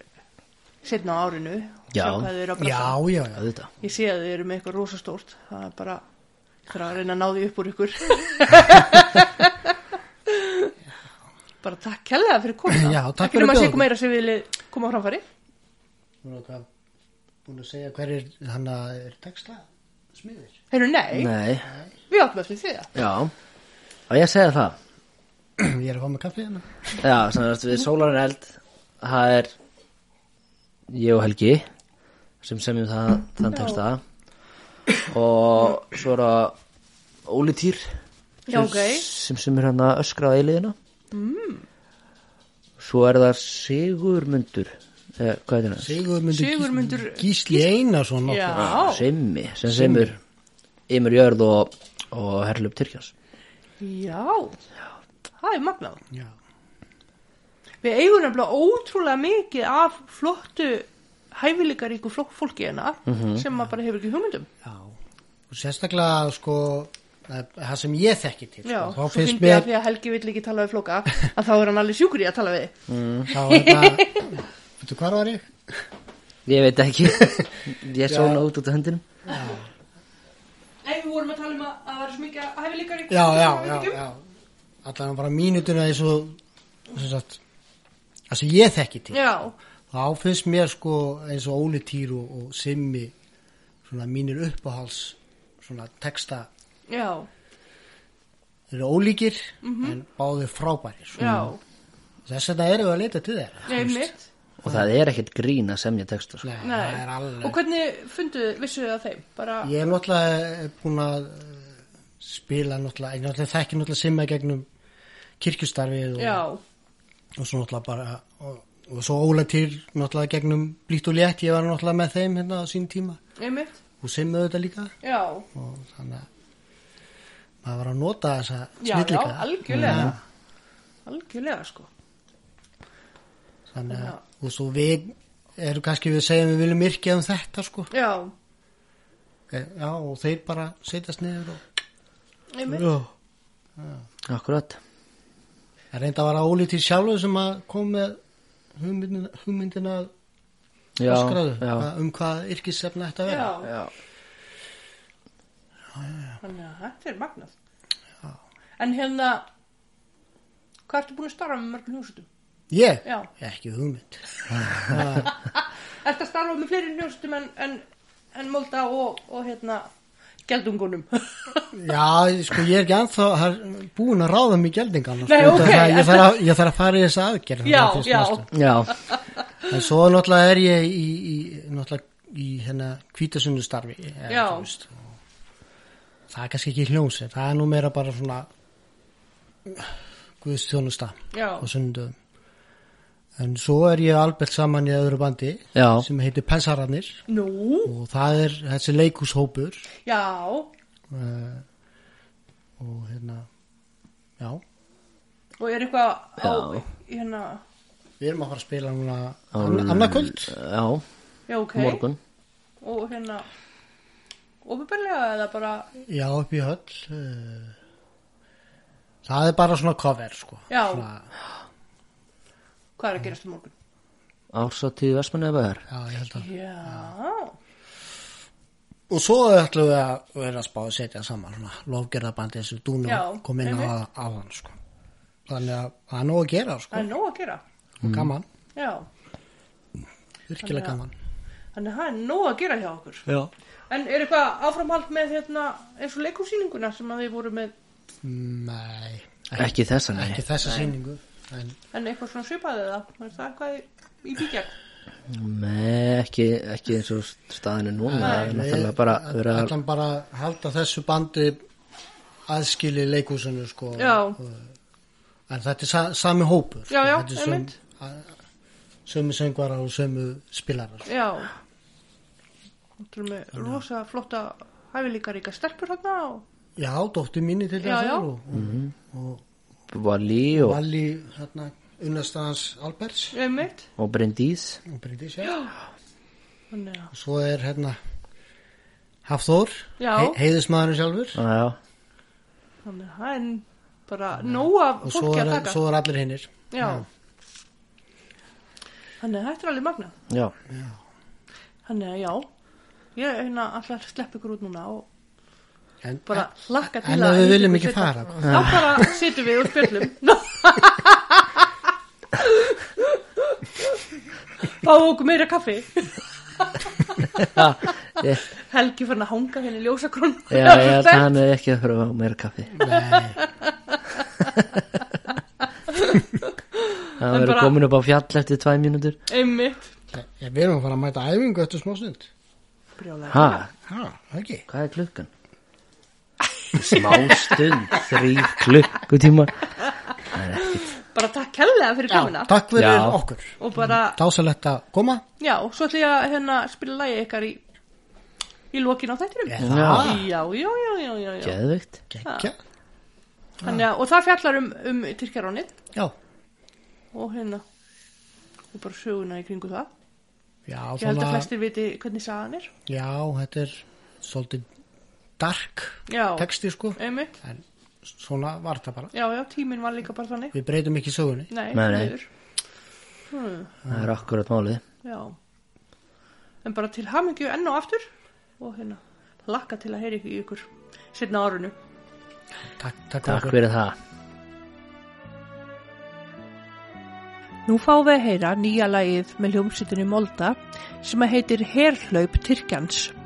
Speaker 1: setna á árinu og
Speaker 3: Já.
Speaker 1: sjá hvað þið eru að brasa.
Speaker 4: já, já, já,
Speaker 3: auðvitað?
Speaker 1: Ég sé að þið eru með eitthvað rosa stórt, það er bara ég þarf að reyna að ná því upp úr ykkur. bara takk kærlega fyrir komuna.
Speaker 4: Já, takk
Speaker 1: Ekki nema að sé
Speaker 4: fyrir að bjóða
Speaker 1: eitthvað meira sem við viljið koma á framfæri.
Speaker 4: Nú erum við búin að segja hver er hann að er texta smiðir.
Speaker 1: Heyrðu, nei,
Speaker 3: Nei,
Speaker 1: við áttum eftir því það.
Speaker 3: já. Og ég segja það.
Speaker 4: Ég er að fá með kaffið hérna.
Speaker 3: Já, sem sagt við Sólarinn Eld það er ég og Helgi sem semjum það þann texta og svo er það Óli Týr
Speaker 1: Já, ok.
Speaker 3: sem semur hann að öskra á eiliðina mm. svo er það Sigurmundur eh, hvað heitir hann?
Speaker 4: Sigurmundur,
Speaker 1: Sigurmundur
Speaker 4: Gísli, Gísli Einarsson
Speaker 1: Já,
Speaker 4: okkar.
Speaker 3: Simmi sem semur Ymur Jörð og, og Herlup Tyrkjans
Speaker 1: já, það er magnað.
Speaker 4: Já.
Speaker 1: Við eigum nefnilega ótrúlega mikið af flottu hæfileikaríku flokk fólki hérna sem maður bara hefur ekki hugmyndum.
Speaker 4: já. Og sérstaklega sko það það sem ég þekki til.
Speaker 1: Já,
Speaker 4: sko.
Speaker 1: svo
Speaker 4: Þá finnst
Speaker 1: fyndi ég að
Speaker 4: mér
Speaker 1: því að Helgi vill ekki tala við flóka að þá er hann alveg sjúkur í að tala við.
Speaker 4: þá er það Veitu hvað var ég?
Speaker 3: ég veit ekki ég er svona út út af höndinum
Speaker 1: Nei, við vorum að tala um að það var svo mikið hæfileikaríku
Speaker 4: Já, já, já, já. Allan bara mínutuna í svo sem sagt það sem ég þekki til.
Speaker 1: Já,
Speaker 4: Þá finnst mér sko eins og Óli Týr og, og Simmi svona mínir uppáhals svona texta
Speaker 1: já,
Speaker 4: þeir eru ólíkir en báðir frábærir sko.
Speaker 1: Mhm. já,
Speaker 4: þess vegna erum við að leita til þeirra
Speaker 1: nei mitt,
Speaker 3: og það er ekkert grín að semja texta sko.
Speaker 4: Nei,
Speaker 1: nei.
Speaker 4: það er alveg
Speaker 1: Og hvernig funduðu, vissuðu það þeim? Bara,
Speaker 4: ég er náttúrulega búin að eh, spila náttúrulega, ég náttúrulega þekki náttúrulega simma gegnum kirkjustarfið
Speaker 1: já,
Speaker 4: og, og svo náttúrulega bara og, og svo ólega til náttúrulega gegnum blítt og létt, ég var náttúrulega með þeim hérna á sín tíma
Speaker 1: nei mitt,
Speaker 4: og simma auðvitað líka
Speaker 1: já,
Speaker 4: og þannig að maður var að nota þessa
Speaker 1: já, já,
Speaker 4: snillika
Speaker 1: algjörlega, algjörlega sko,
Speaker 4: þannig að og svo við erum kannski við segjum við viljum yrkja um þetta sko
Speaker 1: já,
Speaker 4: Eh, Já, og þeir bara setjast niður og...
Speaker 1: nei mitt,
Speaker 4: Já.
Speaker 3: akkurat
Speaker 4: Það reynda að vara ólítið sjálfur sem að kom með hugmyndina, hugmyndina að
Speaker 3: já,
Speaker 4: öskraðu
Speaker 3: já.
Speaker 4: að- um hvað yrkissefna ætti að vera.
Speaker 1: já.
Speaker 3: Já.
Speaker 1: Þannig að þetta er magnað. En hérna, hvað ertu búin að starfa með mörgum hljómsutum?
Speaker 4: Ég?
Speaker 1: Já.
Speaker 4: Ekki hugmynd.
Speaker 1: Ertu að starfa með fleiri hljómsutum en, en, en Molda og, og hérna, Geldungunum?
Speaker 4: Já, sko, ég er ekki anþá búin að ráða mig geldingan.
Speaker 1: Nei,
Speaker 4: sko, út af
Speaker 1: ok,
Speaker 4: það að
Speaker 1: en
Speaker 4: Ég þarf að, ég þarf að fara í þessa aðgerð.
Speaker 1: Já,
Speaker 4: þarna fyrst
Speaker 1: já.
Speaker 4: næstu.
Speaker 3: Já,
Speaker 4: En svo náttúrulega er ég í, í náttúrulega í hérna hvítasunustarfi.
Speaker 1: Já.
Speaker 4: Það er kannski ekki hljómsið. Það er nú meira bara svona guðstjónusta
Speaker 1: Já.
Speaker 4: á sunnudöðum. En svo er ég albert saman í öðru bandi
Speaker 3: Já.
Speaker 4: sem heitir Pensararnir
Speaker 1: Nú,
Speaker 4: og það er þessi leikúshópur
Speaker 1: já,
Speaker 4: uh, og hérna, já,
Speaker 1: og er eitthvað á,
Speaker 3: Já.
Speaker 1: hérna,
Speaker 4: við erum að fara að spila núna anna- annað kvöld.
Speaker 3: já,
Speaker 1: já, ok.
Speaker 3: morgun
Speaker 1: Og hérna, Opinberlega eða bara
Speaker 4: Já, upp í höll eh, Það er bara svona cover sko.
Speaker 1: Já.
Speaker 4: svona,
Speaker 1: hvað er að gerast um morgun?
Speaker 3: Ársatíð Vestmannaðabæðar
Speaker 4: já, ég held að
Speaker 1: Já,
Speaker 4: Og svo ætlum við að vera að spá að setja saman svona, lofgerðabandi sem Dúnu
Speaker 1: Já,
Speaker 4: kom inn á,
Speaker 1: einmitt.
Speaker 4: á hann sko. Þannig að það er nóg að gera
Speaker 1: það
Speaker 4: sko.
Speaker 1: er nóg að gera.
Speaker 4: og gaman,
Speaker 1: Já, Þannig
Speaker 4: virkilega gaman
Speaker 1: þannig að það er nóg að gera hjá okkur.
Speaker 4: Já
Speaker 1: En er eitthvað áframhald með hérna, eins og leikursýninguna sem að við vorum með,
Speaker 4: Nei,
Speaker 3: Ekki þessa, nei
Speaker 4: ekki þessa sýningu en,
Speaker 1: en eitthvað svona svipaðið eða, er það eitthvað í, í bíkjæk?
Speaker 3: Nei, ekki, ekki eins og staðinu núna Það er náttúrulega bara
Speaker 4: Við
Speaker 3: verið að
Speaker 4: ætlum bara að halda þessu bandi aðskili leikúsinu sko.
Speaker 1: Já,
Speaker 4: en þetta er sa sami hópur
Speaker 1: Já, já,
Speaker 4: þetta er söm-
Speaker 1: einmitt.
Speaker 4: að- sömu söngvara og sömu spilarar sko.
Speaker 1: já. Þú erum með rosa flotta hæfileikaríka stelpur hérna og,
Speaker 4: já, dóttir mínu til
Speaker 1: Já,
Speaker 4: þess
Speaker 1: já.
Speaker 4: að og,
Speaker 3: Mhm.
Speaker 4: og,
Speaker 3: Valí
Speaker 4: og
Speaker 3: og,
Speaker 4: Valli hérna, unnastans Alberts
Speaker 1: einmitt,
Speaker 3: og Bryndís
Speaker 4: og Bryndís já.
Speaker 1: þannig að,
Speaker 4: og svo er hérna Hafþór
Speaker 1: Já.
Speaker 4: heiðismæðurinn sjálfur
Speaker 3: Já, já,
Speaker 1: þannig að það er bara nóg af
Speaker 4: og svo
Speaker 1: fólki
Speaker 4: er,
Speaker 1: að taka.
Speaker 4: svo er allir hinnir
Speaker 1: Já. Þannig að þetta er alveg magnað.
Speaker 3: já
Speaker 1: Þannig að já, ég hérna alltaf að sleppa ykkur út núna og
Speaker 4: en,
Speaker 1: bara hlakka til
Speaker 4: en ef við viljum
Speaker 1: hitta
Speaker 4: ekki
Speaker 1: ykkur
Speaker 4: fara
Speaker 1: seinna. Þá
Speaker 3: Ah.
Speaker 1: bara situm við og spjöllum. Ná. Fá okkur meira kaffi.
Speaker 3: Ég,
Speaker 1: Helgi fann að hanga hérna í ljósakrón.
Speaker 3: já, já, hann er ekki að fyrir að meira kaffi
Speaker 4: Nei,
Speaker 3: Það
Speaker 1: En
Speaker 3: verður
Speaker 1: bara-
Speaker 3: komin upp á fjall eftir tvæ mínútur
Speaker 1: Einmitt.
Speaker 4: ég- við erum að fara að mæta æfingu eftir smástund
Speaker 1: Brjálæði.
Speaker 3: Ha,
Speaker 4: ha, ekki
Speaker 3: hvað er klukkan? Smástund, þrý klukkutíma
Speaker 1: Bara takk hellega fyrir komuna.
Speaker 4: takk fyrir
Speaker 3: Já.
Speaker 4: okkur
Speaker 1: Og bara,
Speaker 4: dásalegt að koma
Speaker 1: já, svo ætlum ég að hérna spila lagi ykkar í, í lokin á þættinum.
Speaker 4: Er
Speaker 3: Já.
Speaker 4: það
Speaker 1: Já, já, já, já, já, já.
Speaker 3: Geðveikt
Speaker 4: gekkja
Speaker 1: Þannig að, og það fjallar um, um Tyrkjarónið.
Speaker 4: já,
Speaker 1: og hérna og bara söguna í kringu það
Speaker 4: já,
Speaker 1: ég held að flestir viti hvernig sagan er
Speaker 4: já, þetta er svolítið dark
Speaker 1: Já.
Speaker 4: texti sko
Speaker 1: einmitt,
Speaker 4: en svona var það bara
Speaker 1: já já, tíminn var líka bara þannig
Speaker 4: við breytum ekki sögunni
Speaker 1: nei,
Speaker 3: Nei, nei.
Speaker 1: miður.
Speaker 3: Það er akkurat málið
Speaker 1: já en bara til hamingju enn og aftur og hérna, lakka til að heyri í ykkur setna árunu
Speaker 4: takk, takk,
Speaker 3: Takk fyrir það
Speaker 1: Nú fáum við að heyra nýja lagið með hljómsýtunni Molda sem að heitir Herhlaup Tyrkjans.